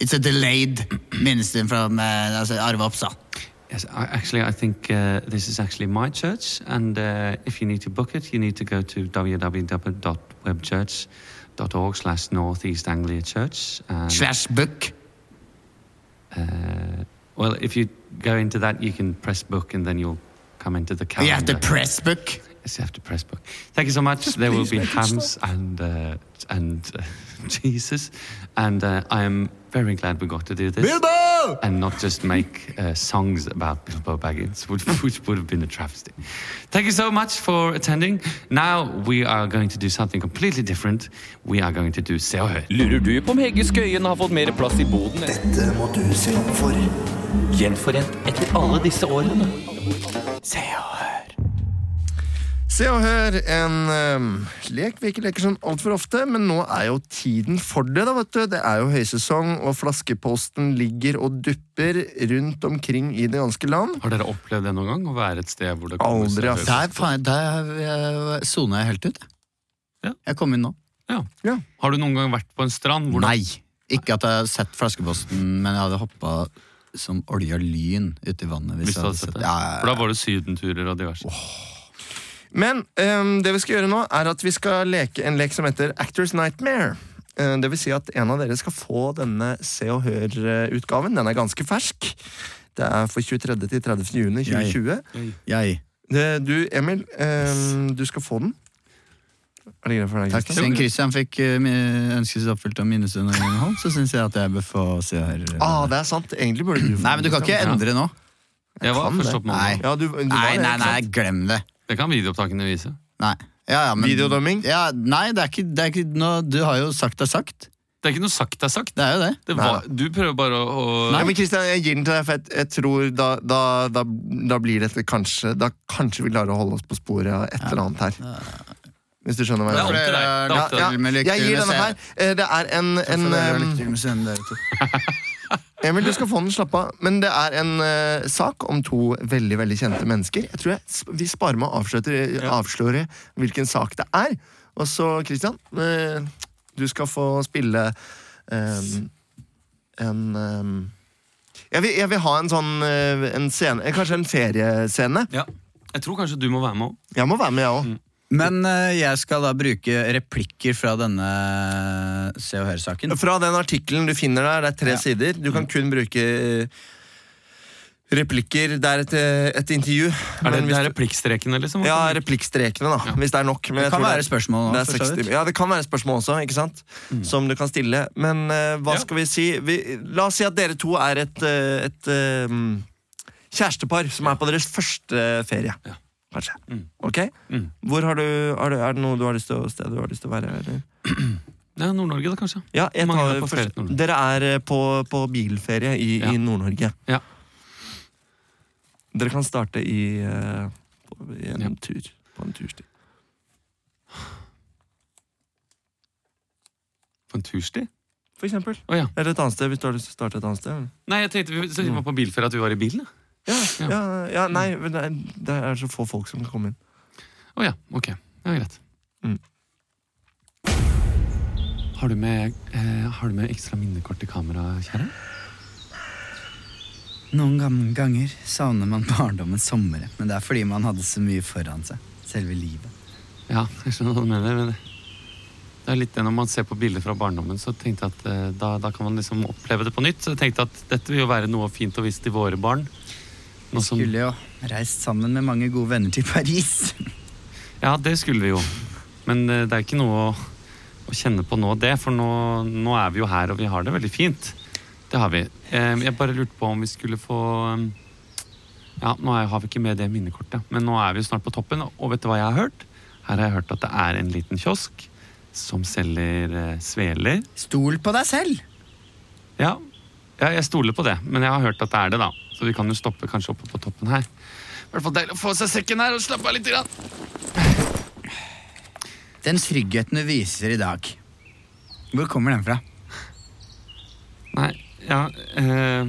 it's a delayed minister from uh, altså Arve Oppsal. yes, I, actually I think uh, this is actually my church, and uh, if you need to book it, you need to go to www.webchurch.org slash Northeast Anglia Church. And, Slash book. uh, well, if you go into that, you can press book, and then you'll come into the You calendar. have to press book. Yes, you have to press book. Thank you so much. there will be hams and uh, and uh, Jesus, and uh, I am very glad we got to do this. Bilbo! and not just make uh, songs about Bilbo Baggins, which, which would have been a travesty. Thank you so much for attending. Now we are going to do something completely different. We are going to do Se og Hør. Lurer du på om Hege Skøyen har fått mer plass i boden? Dette må du se opp for. Gjenforent etter alle disse årene. Se og hør, en øhm, lek vi ikke leker sånn altfor ofte, men nå er jo tiden for det, da, vet du. Det er jo høysesong, og flaskeposten ligger og dupper rundt omkring i det ganske land. Har dere opplevd det noen gang? Å være et sted hvor det kommer Se Aldri, og ass. Hør? Der, faen, der sona jeg er helt ut. jeg. Ja. Jeg kom inn nå. Ja. Har du noen gang vært på en strand hvor det Nei! Ikke at jeg har sett flaskeposten, men jeg hadde hoppa som olja lyn uti vannet. hvis Hvis du jeg hadde sett det? For da var det sydenturer og diverse. ehm, Men øhm, det vi skal gjøre nå, er at vi skal leke en lek som heter Actors Nightmare. Eh, Det vil si at en av dere skal få denne Se og Hør-utgaven. Den er ganske fersk. Det er for 23. til 30. juni 2020. Jeg. Eh, Du, Emil, eh, du skal få den. Er det greit for deg? Takk. Kristian? Siden Christian fikk eh, mi- ønsket sitt oppfylt av minnestunden, så syns jeg at jeg bør få se her. Ah, det er sant. Egentlig burde du få Nei, men du kan ikke endre nå. Jeg var Kan det? først opp med Nei, hånda. Ja, du, du var nei, det, nei, ikke nei sant? glem det. Det kan videoopptakene vise. Nei. Ja, ja, men, Videodømming? Ja, nei, det er ikke, det er ikke noe, du har jo sagt det er sagt. Det er ikke noe sagt det er sagt. Det er jo det. Det var, du prøver bare å, å Ja, men Kristian, jeg gir den til deg, for jeg, jeg tror da, da, da, da blir dette kanskje Da kanskje vi klarer å holde oss på sporet av et eller annet her. Hvis du skjønner hva jeg Det er opp mener. til deg. Det er opp til Ja, deg. Med ja. lykke Jeg til gir med denne her. scenen. Eh, Det er en, en For det er eh, lykke til med scenen, dere to. Emil, du skal få den, slapp av. Men det er en eh, sak om to veldig veldig kjente mennesker. Jeg tror jeg, s- Vi sparer med å avsløre, avsløre hvilken sak det er. Og så, Christian, eh, du skal få spille eh, en eh, jeg, vil, jeg vil ha en sånn eh, en scene, eh, Kanskje en feriescene. Ja. Jeg tror kanskje du må være med òg. Jeg må være med, jeg òg. Men eh, jeg skal da bruke replikker fra denne eh, Se og Hør-saken. Mm. Fra den artikkelen du finner der, det er tre Ja. sider. Du kan kun bruke eh, replikker. Det er et, eh, et intervju. Er det, men hvis det du- er replikkstrekene, liksom? Ja, replikkstrekene, da. Hvis det er nok. Men Det jeg kan tror være spørsmål nå, det er for så 60 vidt. Ja, det kan være spørsmål også, ikke sant? Som du kan stille. Men eh, hva Mm. Ja. skal vi si? Vi, la oss si at dere to er et, eh, et eh, mm, kjærestepar som er på deres første ferie. Kanskje. Ok? Mm. Hvor har du, har du, er det noe du har lyst til å, sted du har lyst til å være? Eller? Det er Nord-Norge, da, kanskje. Ja, jeg Mange tar er på ferie først. til Nord-Norge. Dere er eh, på, på bilferie i, Ja. i Nord-Norge. Ja. Dere kan starte i, eh, på, i en Ja. tur. På en tursti. På en tursti? For eksempel. Å, ja. Eller et annet sted, hvis du har lyst til å starte et annet sted. Nei, jeg tenkte vi så Mm. vi var på bilferie at vi var i bilen. da. Ja, Ja. ja. ja, nei, men det er, det er så få folk som kan komme inn. Å ja, ok. Ja, greit. Mm. Har du med, eh, har du med ekstra minnekort til kamera, kjære? Noen gam- ganger savner man barndommens somre, men det er fordi man hadde så mye foran seg. Selve livet. Ja, jeg skjønner hva du mener. men det er litt det Når man ser på bilder fra barndommen, så tenkte jeg at eh, da, da kan man liksom oppleve det på nytt. Så jeg tenkte at dette vil jo være noe fint å vise til våre barn. Noe som, Skulle jo reist sammen med mange gode venner til Paris. ja, det skulle vi jo. Men eh, det er ikke noe å, å kjenne på nå, det. For nå, nå er vi jo her, og vi har det veldig fint. Det har vi. Eh, jeg bare lurte på om vi skulle få eh, Ja, nå er- har vi ikke med det minnekortet, men nå er vi jo snart på toppen. Og vet du hva jeg har hørt? Her har jeg hørt at det er en liten kiosk som selger eh, sveler. Stol på deg selv! Ja, ja jeg stoler på det, men jeg har hørt at det er det, da. Så vi kan jo stoppe kanskje oppe på toppen her. I hvert fall deilig å få seg sekken her og slappe av litt. Grann. Den tryggheten du viser i dag. Hvor kommer den fra? Nei, ja eh,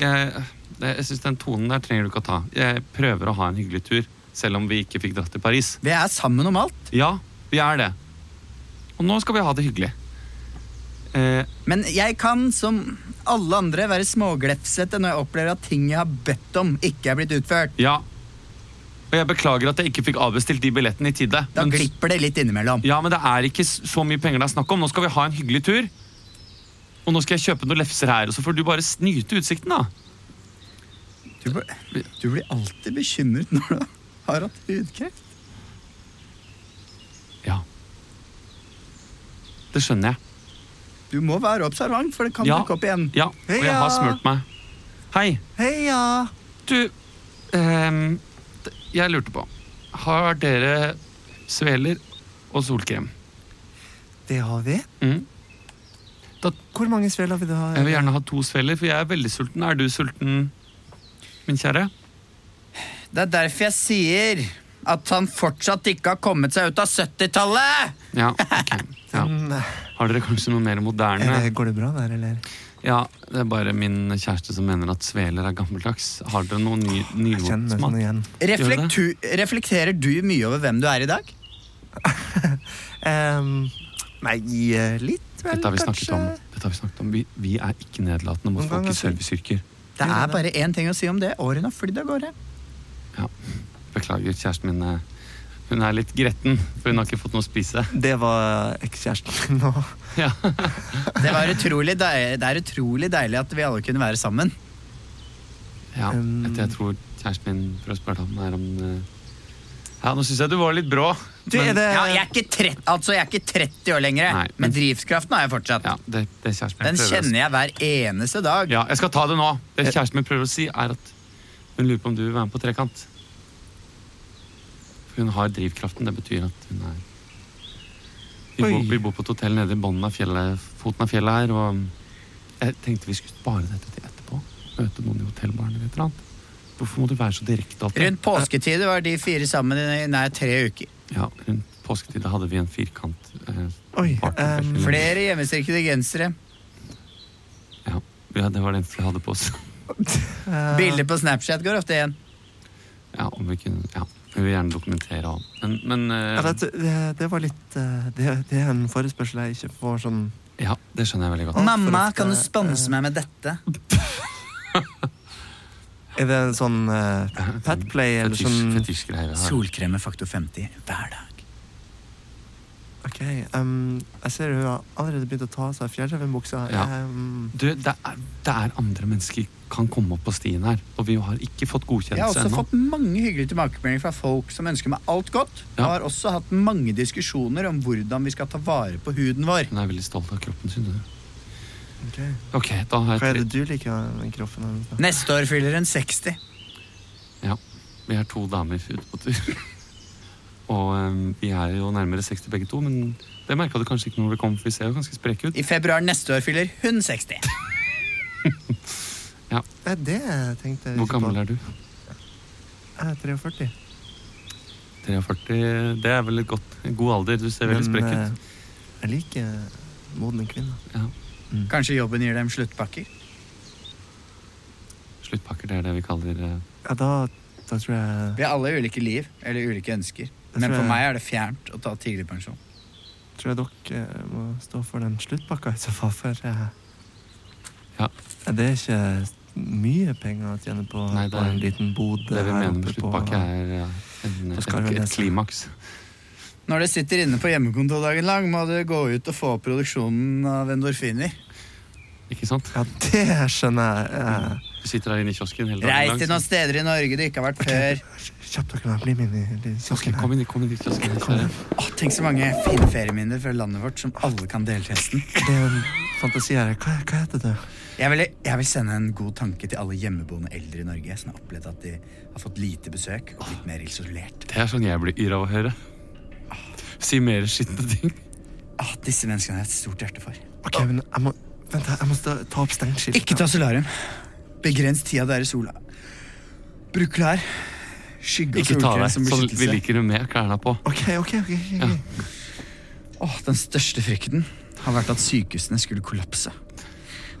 Jeg, jeg syns den tonen der trenger du ikke å ta. Jeg prøver å ha en hyggelig tur, selv om vi ikke fikk dratt til Paris. Vi er sammen om alt, Ja, vi er det. Og nå skal vi ha det hyggelig. Eh, men jeg kan som alle andre være småglefsete når jeg opplever at ting jeg har bedt om, ikke er blitt utført. ja. Og jeg beklager at jeg ikke fikk avbestilt de billettene i tide. Da men- glipper det litt innimellom. Ja, men det er ikke s- så mye penger det er snakk om. Nå skal vi ha en hyggelig tur. Og nå skal jeg kjøpe noen lefser her, og så får du bare snyte utsikten, da. Du, blir- du blir alltid bekymret når du har hatt hudkreft. Ja. Det skjønner jeg. Du må være observant, for det kan Ja. dukke opp igjen. Ja, og jeg har smurt meg. Hei. Heia! Du, ehm, d- jeg lurte på Har dere sveler og solkrem? Det har vi. Mm. Da- Hvor mange svel har vi da? Jeg vil gjerne ha to sveler, for jeg er veldig sulten. Er du sulten, min kjære? Det er derfor jeg sier at han fortsatt ikke har kommet seg ut av 70-tallet! Ja, ok. Ja. Mm, Har dere kanskje noe mer moderne? eller, går det bra der, eller? Ja, det er bare min kjæreste som mener at sveler er gammeldags. Har dere noen ny, Jeg kjenner nymotsmak? meg sånn igjen. Reflektu- Reflekterer du mye over hvem du er i dag? Ehm, nei, eh, litt vel, Dette har vi snakket kanskje. om. Dette har Vi snakket om. Vi, vi er ikke nedlatende mot Noen folk ganger i så- serviceyrker. Det er bare én ting å si om det. Årene har flydd av gårde. Beklager, kjæresten min eh, Hun er litt gretten, for hun har ikke fått noe å spise. Det var ekskjæresten min nå. Det, var utrolig deilig, det er utrolig deilig at vi alle kunne være sammen. Ja, etter jeg tror kjæresten min for å spørre ham er om eh, Ja, nå syns jeg du var litt brå. men- ja, jeg, er ikke 30, altså, jeg er ikke 30 år lenger, jeg. Nei, men drivkraften har jeg fortsatt. det, det kjæresten min Den prøver å si. kjenner jeg hver eneste dag. Ja, jeg skal ta det nå. Det kjæresten min prøver å si, er at hun lurer på om du vil være med på trekant. For hun har drivkraften. Det betyr at hun er Vi, bor, Oi. vi bor på et hotell nede i bunnen av fjellet, foten av fjellet her, og eh, jeg tenkte vi skulle spare dette til etterpå. Møte noen i hotellbaren eller et eller annet. Hvorfor må du være så direkte alltid? Rundt påsketid var de fire sammen i nær tre uker. Ja, rundt påsketid hadde vi en firkant. Eh, Oi, partnerfest. Flere hjemmestrikkede gensere. ja, det var den vi hadde på oss. Bilder på Snapchat går ofte igjen. Ja, om vi kunne Ja, vi vil gjerne dokumentere alt. Men, men eh, Ja, det, det, det var litt eh, Det, det er en forespørsel jeg ikke får sånn ja, det skjønner jeg veldig godt. Mamma, kan du eh, sponse meg med dette? Er det en sånn uh, patplay eller sånn Fetisjgreier. Solkrem med faktor 50 hver dag. Ok, um, jeg ser hun har allerede begynt å ta av seg fjærrevenbuksa. Ja. Um, Du, det er, det er andre mennesker kan komme opp på stien her, og vi har ikke fått Jeg har godkjennelse også ennå. fått mange hyggelige tilbakemeldinger fra folk som ønsker meg alt godt. Og Ja. har også hatt mange diskusjoner om hvordan vi skal ta vare på huden vår. Hun er veldig stolt av kroppen sin. du. ok. Ok, da har Hva er jeg det du liker med den kroppen hennes? da? Neste år fyller hun 60. tre Ja, vi er to damer ute på tur. Og eh, vi er jo nærmere 60 begge to, men det merka du kanskje ikke når vi kom, for vi ser jo ganske spreke ut. I februar neste år fyller hun 60. Ja, Eh, det tenkte jeg Hvor gammel er du? Jeg er 43. 43? Det er vel et godt, en god alder. Du ser veldig Men, sprek ut. eh, jeg liker modne kvinner. Kanskje jobben gir dem sluttpakker. Sluttpakker, det er det vi kaller eh, Ja, da, da tror jeg Vi har alle ulike liv, eller ulike ønsker. Jeg Men tror for jeg- meg er det fjernt å ta tidligpensjon. tror jeg dere eh, må stå for den sluttpakka i så fall, for eh, Ja. eh, Det er ikke mye penger å tjene på, Nei, det på er- en liten bod eh, Det vi her mener oppe med på- sluttpakke, er eh, en, På et, Skarvnes. et klimaks. Når du sitter inne på hjemmekontor dagen lang, må du gå ut og få opp produksjonen av endorfiner. Ikke sant? Ja, det skjønner jeg. Eh, Du sitter der inne i kiosken hele dagen Reis til noen steder i Norge du ikke har vært før. Eh, Kjapp dere, bli med inn i Kiosken, kiosken her. kom inn, i- kom inn i kiosken. Sverre. Å, tenk så mange fine ferieminner fra landet vårt som alle kan dele til hesten. Det er en fantasi her. Hva, hva heter det? Jeg vil, jeg vil sende en god tanke til alle hjemmeboende eldre i Norge som har opplevd at de har fått lite besøk og blitt mer isolert. Det er sånn jeg blir yr av å høre. Si mer skitne ting. Ah, disse menneskene har jeg et stort hjerte for. Ok, men jeg må Vent, her, jeg må stå, ta opp stengskiltet. Ikke ta solarium. Begrens tida der i sola. Bruk klær. Skygge og Ikke ta av solkrem deg. som Sånn, vi beskyttelse. liker det med klærne på. Ok, ok, ok. ok. Åh, den største frykten har vært at sykehusene skulle kollapse.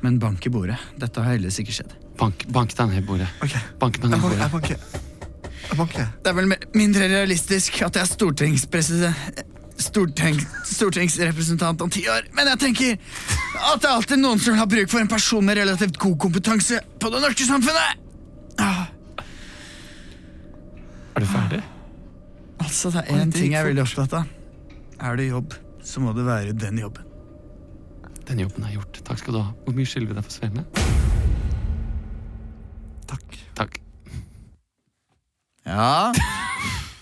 Men bank i bordet. Dette har heldigvis ikke skjedd. Bank, bank deg ned i bordet. Ok. Bank meg ned Jeg i banker. bordet. Jeg banker. Jeg banker. Det er vel mer- mindre realistisk at jeg er stortingspresident storteng- Stortingsrepresentant om ti år, men jeg tenker at det er alltid noen som vil ha bruk for en person med relativt god kompetanse på det norske samfunnet! Ah, Er du ferdig? altså, det er én ting jeg er veldig opptatt av. Er det jobb, så må det være den jobben. Den jobben er gjort. Takk skal du ha. Hvor mye skylder vi deg for Svenne? Takk. Takk. Ja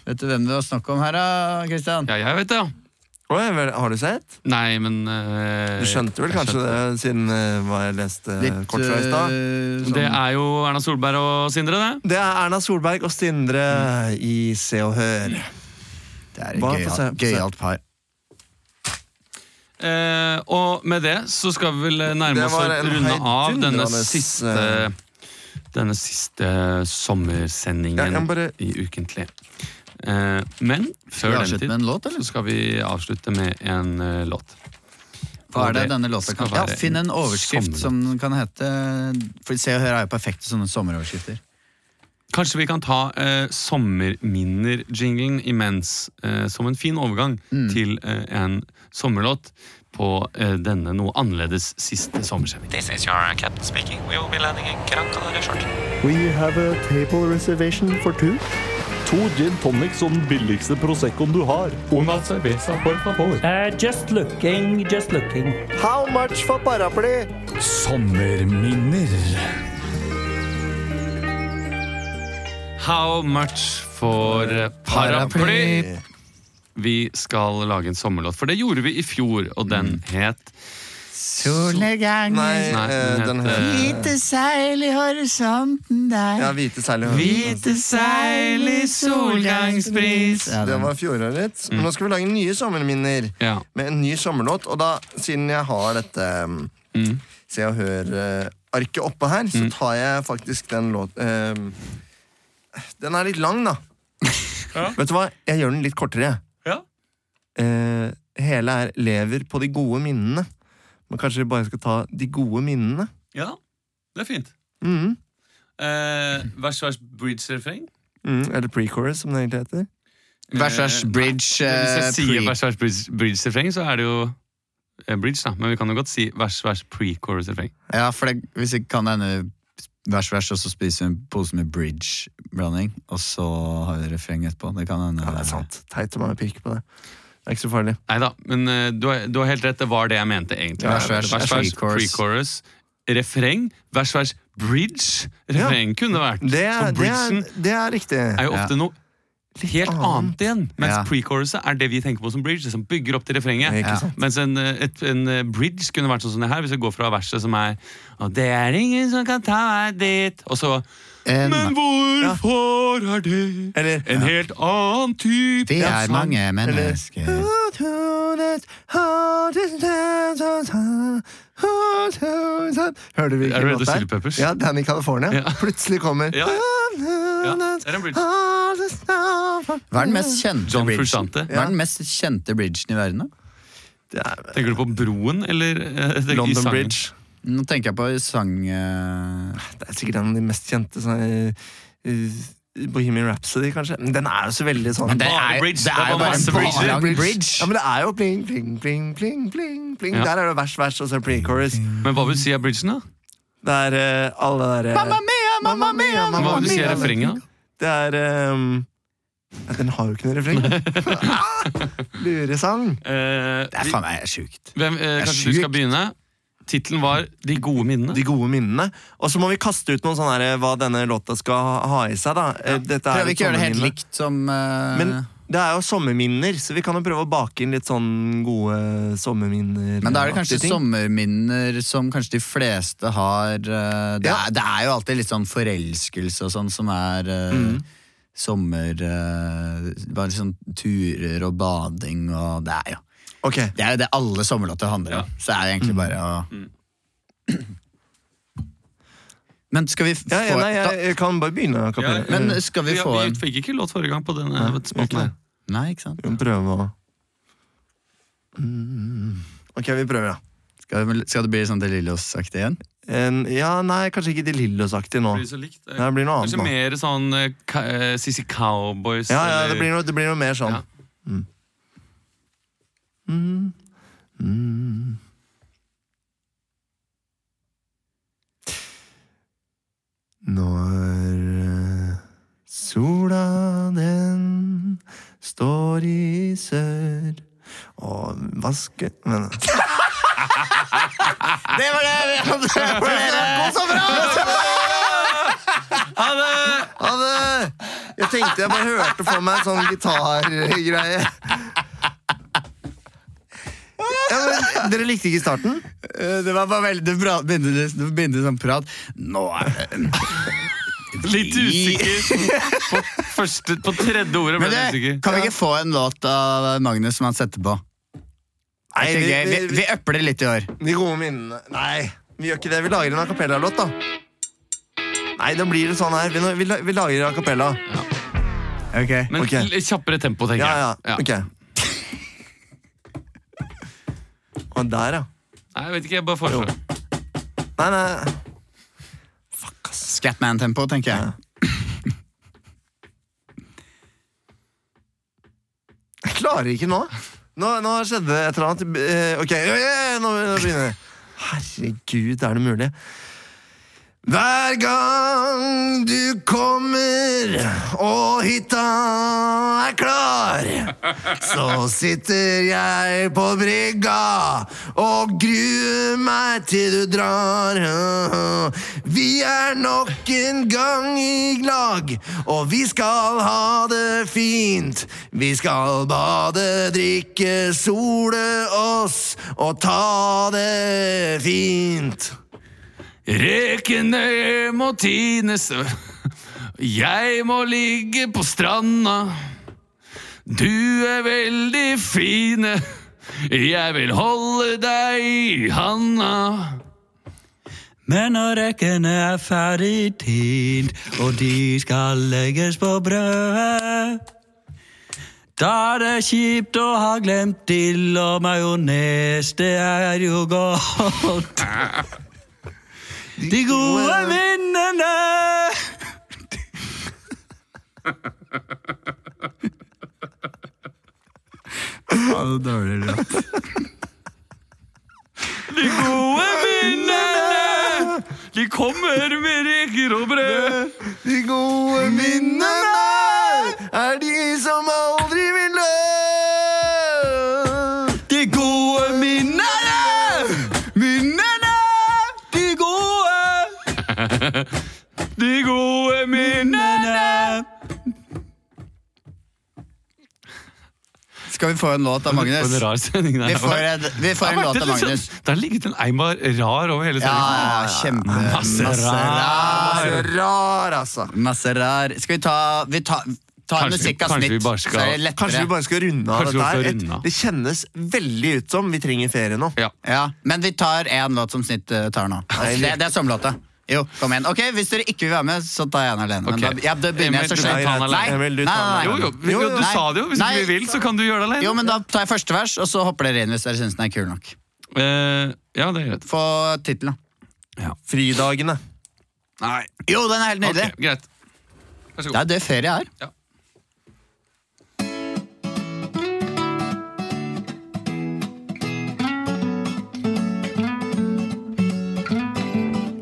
Vet du hvem det var snakk om her, da, Kristian? Ja, jeg vet det, ja. Oi, vel, har du sett? Nei, men eh, Du skjønte vel jeg kanskje skjønte. det, siden eh, hva jeg leste eh, kort fra i stad? eh, Det er jo Erna Solberg og Sindre, det. Det er Erna Solberg og Sindre i Se og Hør. Det er et Hva? gøyalt- Få se, få se. gøyalt par. Eh, og med det så skal vi vel eh, nærme Det oss å var en runde av denne heidundrende, siste eh, Denne siste sommersendingen Ja, jeg må bare- i Ukentlig. Eh, men Skal vi før den avslutte tid med en låt, så eller? skal vi avslutte med en eh, låt. Hva er det det denne låta skal kan ja, være Finn en en overskrift sommerlåt. som kan hete For Se og Hør er jo perfekte sånne sommeroverskrifter. Kanskje vi kan ta eh, sommerminner-jinglen imens, eh, som en fin overgang Mm. til eh, en sommerlåt på eh, denne noe annerledes siste sommersending. This is your captain speaking. We will be landing in Gran Canaria shortly. We have a table reservation for two. to gin tonics og den billigste proseccoen du har. Una cerveza, por favor. Uh, just looking, just looking. How much for paraply? Sommerminner. How much for eh, paraply? Vi skal lage en sommerlåt, for det gjorde vi i fjor, og Mm. den het Solnedgangen. Nei, eh, den het Hvite seil i horisonten der. Ja, hvite seil i Hvite seil i solgangsbris. Det var fjorårets. Men nå skal vi lage nye sommerminner med en ny sommerlåt. Og da, siden jeg har dette um, Mm. Se og Hør-arket oppe her, så tar jeg faktisk den låt... um, den er litt lang, da. Vet du hva? Jeg gjør den litt kortere. jeg. Ja. Eh, hele er 'lever på de gode minnene'. Men kanskje vi bare skal ta 'de gode minnene'? Ja, det er fint. Mm. Mhm. Eh, vers, vers, bridge-refreng. Mm, eller pre-chorus, som det egentlig heter. Eh, nei, eh, Eh, Hvis jeg sier vers, vers, bridge- bridge-refreng, så er det jo eh, bridge, da. Men vi kan jo godt si vers, vers, pre-chorus-refreng. Ja, for det, hvis ikke kan det hende vers, vers, og så spiser vi en pose med bridge-blanding, og så har vi refreng etterpå. Det kan hende. Ja, det er sant. Teit om jeg pirker på det. Det er ikke så farlig. Nei da, men eh, du, har, du har helt rett. Det var det jeg mente, egentlig. Ja, vers, vers, vers, vers pre-chorus. pre-chorus, refreng, vers, vers, bridge. Refreng kunne vært. Det er, For det bridgen er, det er riktig. er jo ofte noe helt annet igjen. Mens Ja. pre-choruset er det vi tenker på som bridge. Det som bygger opp til refrenget. Ikke sant. Mens en, eh, et, en eh, bridge kunne vært sånn som det her, hvis vi går fra verset som er Og det er ingen som kan ta meg dit Og så En- Men hvorfor er det en helt annen type Vi av er sang?» mange Eller- mennesker. Hører Er du hvilken det Red låt Chili det er? Peppers? Ja, Danny California. Plutselig kommer Ja. Hva er den mest kjente John bridgen? Frusciante. Hva er den mest kjente bridgen i verden, da? Tenker du på broen, eller eh, det- i London sangen? Bridge. Nå tenker jeg på sang... eh, Det er sikkert en av de mest kjente sånn, eh, eh, Bohemian Rhapsody, kanskje. Men den er jo så veldig sånn Men det er- Bare bridge. det er Det er jo bare masse bare bridge. lang bridge. Ja, men det er jo pling, pling, pling, pling, pling, pling. Ja. Der er det vers, vers og så pre-chorus. Men hva vil du si er bridgen, da? Det er eh, alle der eh, Mamma mia, mamma mia, Hva mamma vil du si er mia. refrenget? da? Det er ehm, ja, Den har jo ikke noe refreng. Luresang. Eh, Det er faen meg sjukt. Hvem, eh, kanskje du skal begynne? Tittelen var 'De gode minnene'. De gode minnene. Og så må vi kaste ut noen sånne her, eh, hva denne låta skal ha- ha i seg. da. Eh, Dette er Prøver ikke å gjøre det helt sommerminne. likt som eh, Men det er jo sommerminner, så vi kan jo prøve å bake inn litt sånn gode sommerminner. Men da er det kanskje aktige ting. sommerminner som kanskje de fleste har. eh, Det, er, det er jo alltid litt sånn forelskelse og sånn som er eh, sommer eh, Bare sånn turer og bading og Det er jo Det er jo det alle sommerlåter handler om. Så det er jo Mm. egentlig bare å Men skal vi f- få Ja, ja, nei, da- jeg, jeg kan bare begynne. å kapere. Men skal vi Ja, få en Vi fikk ikke låt forrige gang på denne spalten. her. Nei, ikke sant? Vi må prøve å Mm. Ok, vi prøver, da. Skal, vi- skal det bli sånn De Lillos-aktig igjen? En, ja, nei, kanskje ikke De Lillos-aktig nå. Blir så likt. Nei, Det blir noe annet Kanskje nå. mer sånn eh, ka- eh, CC Cowboys Ja, ja, eller- det blir noe, det blir noe mer sånn. Mm. Mm. Mm. Når eh, sola den står i sør og vasker Men Det var det vi hadde for dere! God Ha det! Ha det! Jeg tenkte jeg bare hørte for meg en sånn gitargreie. Ja, men dere likte ikke starten? Eh, Det var bare veldig bra. Begynte det- det begynte sånn prat. Nå er det Litt usikker. På, første, på tredje ordet ble Men jeg det, usikker. kan vi ikke få en låt av Magnus som han setter på? Nei, Jeg vi- tenker, vi, vi- vi øpper det litt i år. De gode minnene Nei, vi gjør ikke det. Vi lager en a cappella-låt, da. Nei, da blir det sånn her. Vi, vi, vi lager a cappella. Ok. Men Ok. litt kjappere tempo, tenker Ja, jeg. ja. Ok. Og der, ja. Nei, jeg vet ikke, jeg bare foreslår. Nei, nei. Scatman-tempo, tenker jeg. Jeg klarer ikke nå. Nå, nå skjedde det et eller annet. Eh, Ok, ja, ja, ja, nå, nå begynner jeg. Herregud, er det mulig? Hver gang du kommer og hytta er klar. Så sitter jeg på brygga og gruer meg til du drar. Vi er nok en gang i lag, og vi skal ha det fint. Vi skal bade, drikke, sole oss og ta det fint. Rekene må tines, jeg må ligge på stranda. Du er veldig fine, jeg vil holde deg i handa. Men når rekene er ferdig tint, og de skal legges på brødet Da er det kjipt å ha glemt dill og majones, det er jo godt. De gode minnene Ja, det er dårlig rett. De gode minnene, de kommer med reker og brød. De gode minnene er de som aldri vil dø. De gode minnene! Minnene! De gode! De gode minnene. Skal vi få en låt av Magnus? For en rar sending der. Vi får en- vi får en Det har vært låt av litt sånn- Magnus. Det har ligget en eim av rar over hele Ja, ja, sendingen. kjempe Masse rar. Rar, altså. Masse rar. Skal vi ta vi ta, ta en Kanskje vi- musikk av kanskje snitt, vi bare skal- så er det lettere. Kanskje vi bare skal runde av Kanskje vi dette skal her? runde Et- av. Det kjennes veldig ut som vi trenger ferie nå. Ja, Men vi tar én låt som snitt eh, tar nå. Det, det er sommerlåta. Jo, kom igjen. Ok, Hvis dere ikke vil være med, så tar jeg den alene. Men Ok. da, ja, da begynner Emil, jeg så du tar sent. den Nei, alene. nei, Emil, du nei, tar nei. Jo, jo, men du Nei. sa det jo. Hvis Nei. ikke vi vil, så kan du gjøre det alene. Jo, men da tar jeg første vers, og så hopper dere inn hvis dere syns den er kul nok. Eh, ja, det er greit. Få tittelen, da. Fridagene. Nei. Jo, den er helt Ok, nydelig. greit. Vær så Det god. er det ferie er.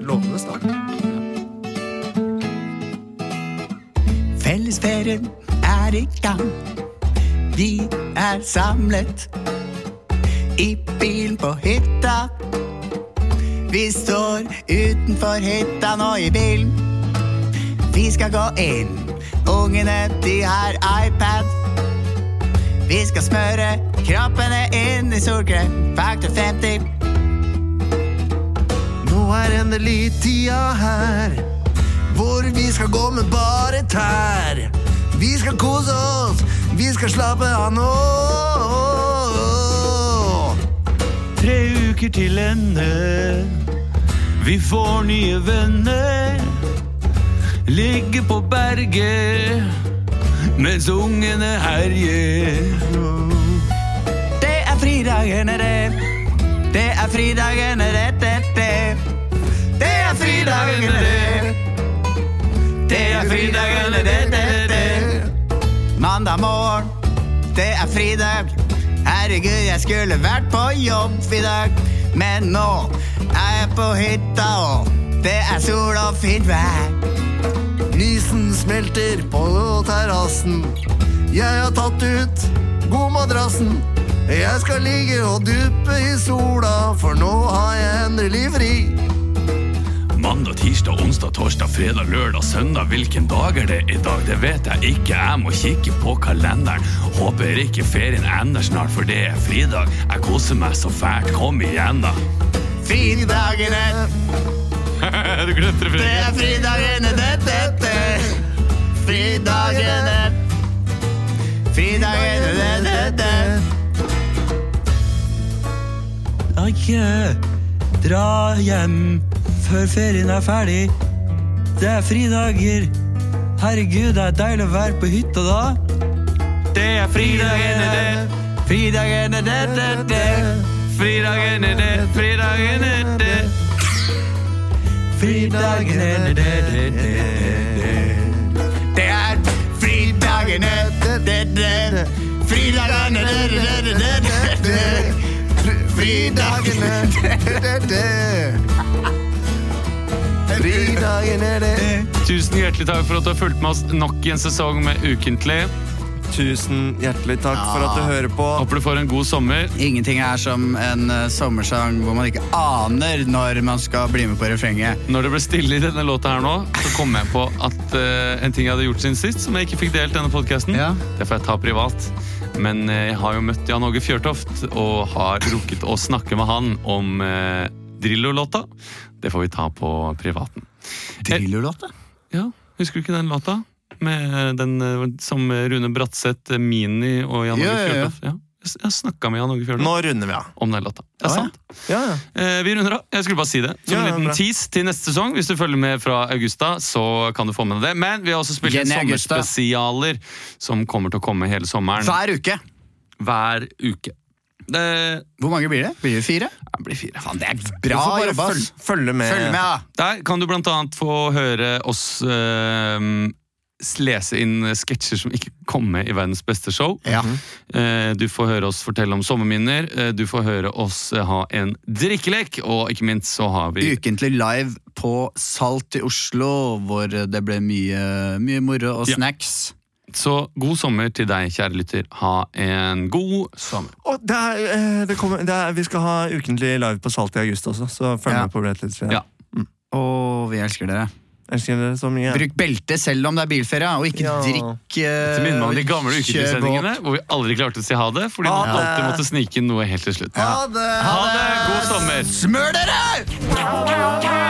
Lovende start. Fellesferien er i gang. Vi er samlet i bilen på hytta. Vi står utenfor hytta nå i bilen. Vi skal gå inn. Ungene, de har iPad. Vi skal smøre kroppene inn i solkrem. Faktor 50. Nå er endelig tida her, hvor vi skal gå med bare tær. Vi skal kose oss, vi skal slappe av nå. Tre uker til ende. Vi får nye venner. Ligge på berget mens ungene herjer. Det er fridagene, det. Det er fridagene, det, det, det. Det er fridagene, det. Det er fridagene, det, det, det. Mandag morgen, det er fridag. Herregud, jeg skulle vært på jobb i dag. Men nå er jeg på hytta, og det er sol og fint vær. Lysen smelter på terrassen. Jeg har tatt ut godmadrassen. Jeg skal ligge og duppe i sola, for nå har jeg endelig fri. Mandag, tirsdag, onsdag, torsdag, fredag, lørdag, søndag. Hvilken dag er det i dag? Det vet jeg ikke. Jeg må kikke på kalenderen. Håper ikke ferien ender snart, for det er fridag. Jeg koser meg så fælt. Kom igjen, da. Fridagene, du glemte det er fridagene, det, det, det. Fridagene, fridagene, det, det, det. Adjø, dra hjem før ferien er ferdig. Det er fridager. Herregud, det er deilig å være på hytta da. Det er fridagene, det. Fridagene, det, det, det. Fridagene, det. Fridagene, det. Fridagene, det, det, det, det. Det er fridagene, det, det. Fridagene, det, det, det, det, det. Fridagene, Dagene, det, det, det. Fridagen er det. Tusen hjertelig takk for at du har fulgt med oss nok i en sesong med Ukentlig. Tusen hjertelig takk for at du hører på. Håper du får en god sommer. Ingenting er som en eh, sommersang hvor man ikke aner når man skal bli med på refrenget. Når det ble stille i denne låta her nå, så kom jeg på at eh, en ting jeg hadde gjort siden sist, som jeg ikke fikk delt i denne podkasten, det får jeg ta privat. Men eh, jeg har jo møtt Jan Åge Fjørtoft, og har rukket å snakke med han om eh, Drillo-låta. Det får vi ta på privaten. Drillo-låta? Ja, husker du ikke den låta? Med den eh, som Rune Bratseth, eh, Mini og Jan Åge Ja, ja, ja. Fjørtoft. Ja. Jeg- Jeg snakka med Jan Åge Fjørtoft. Nå runder vi av. Om den låta. Det er sant. Ja, ja. Eh, Vi runder av. Jeg skulle bare si det. Som Ja, ja, en liten bra. tease til neste sesong. Hvis du følger med fra Augusta, så kan du få med deg det. Men vi har også spilt inn Jenny Augusta. sommerspesialer som kommer til å komme hele sommeren. Hver uke. Hver uke. Det Hvor mange blir det? Blir det fire? Det blir fire. det er bra Du får bare jobba. følg- ass. følge med. Følg med, da. Der kan du blant annet få høre oss eh, s- lese inn sketsjer som ikke kom med i verdens beste show. Eh, du får høre oss fortelle om sommerminner. eh, du får høre oss eh, ha en drikkelek, og ikke minst så har vi Ukentlig live på Salt i Oslo, hvor det ble mye, mye moro og Ja. snacks. Så god sommer til deg, kjære lytter. Ha en god sommer. Og det er, eh, det kommer, det er, vi skal ha ukentlig live på Salt i august også, så følg med på Brett litt. Ja. Og vi elsker dere. Elsker dere så mye. Bruk belte selv om det er bilferie, og ikke drikk eh, Dette minner meg om de gamle Kjør ukentlig-sendingene hvor vi aldri klarte å si ha det, fordi man Ha det. alltid måtte snike inn noe helt til slutt. Ha det! God sommer! Smør dere!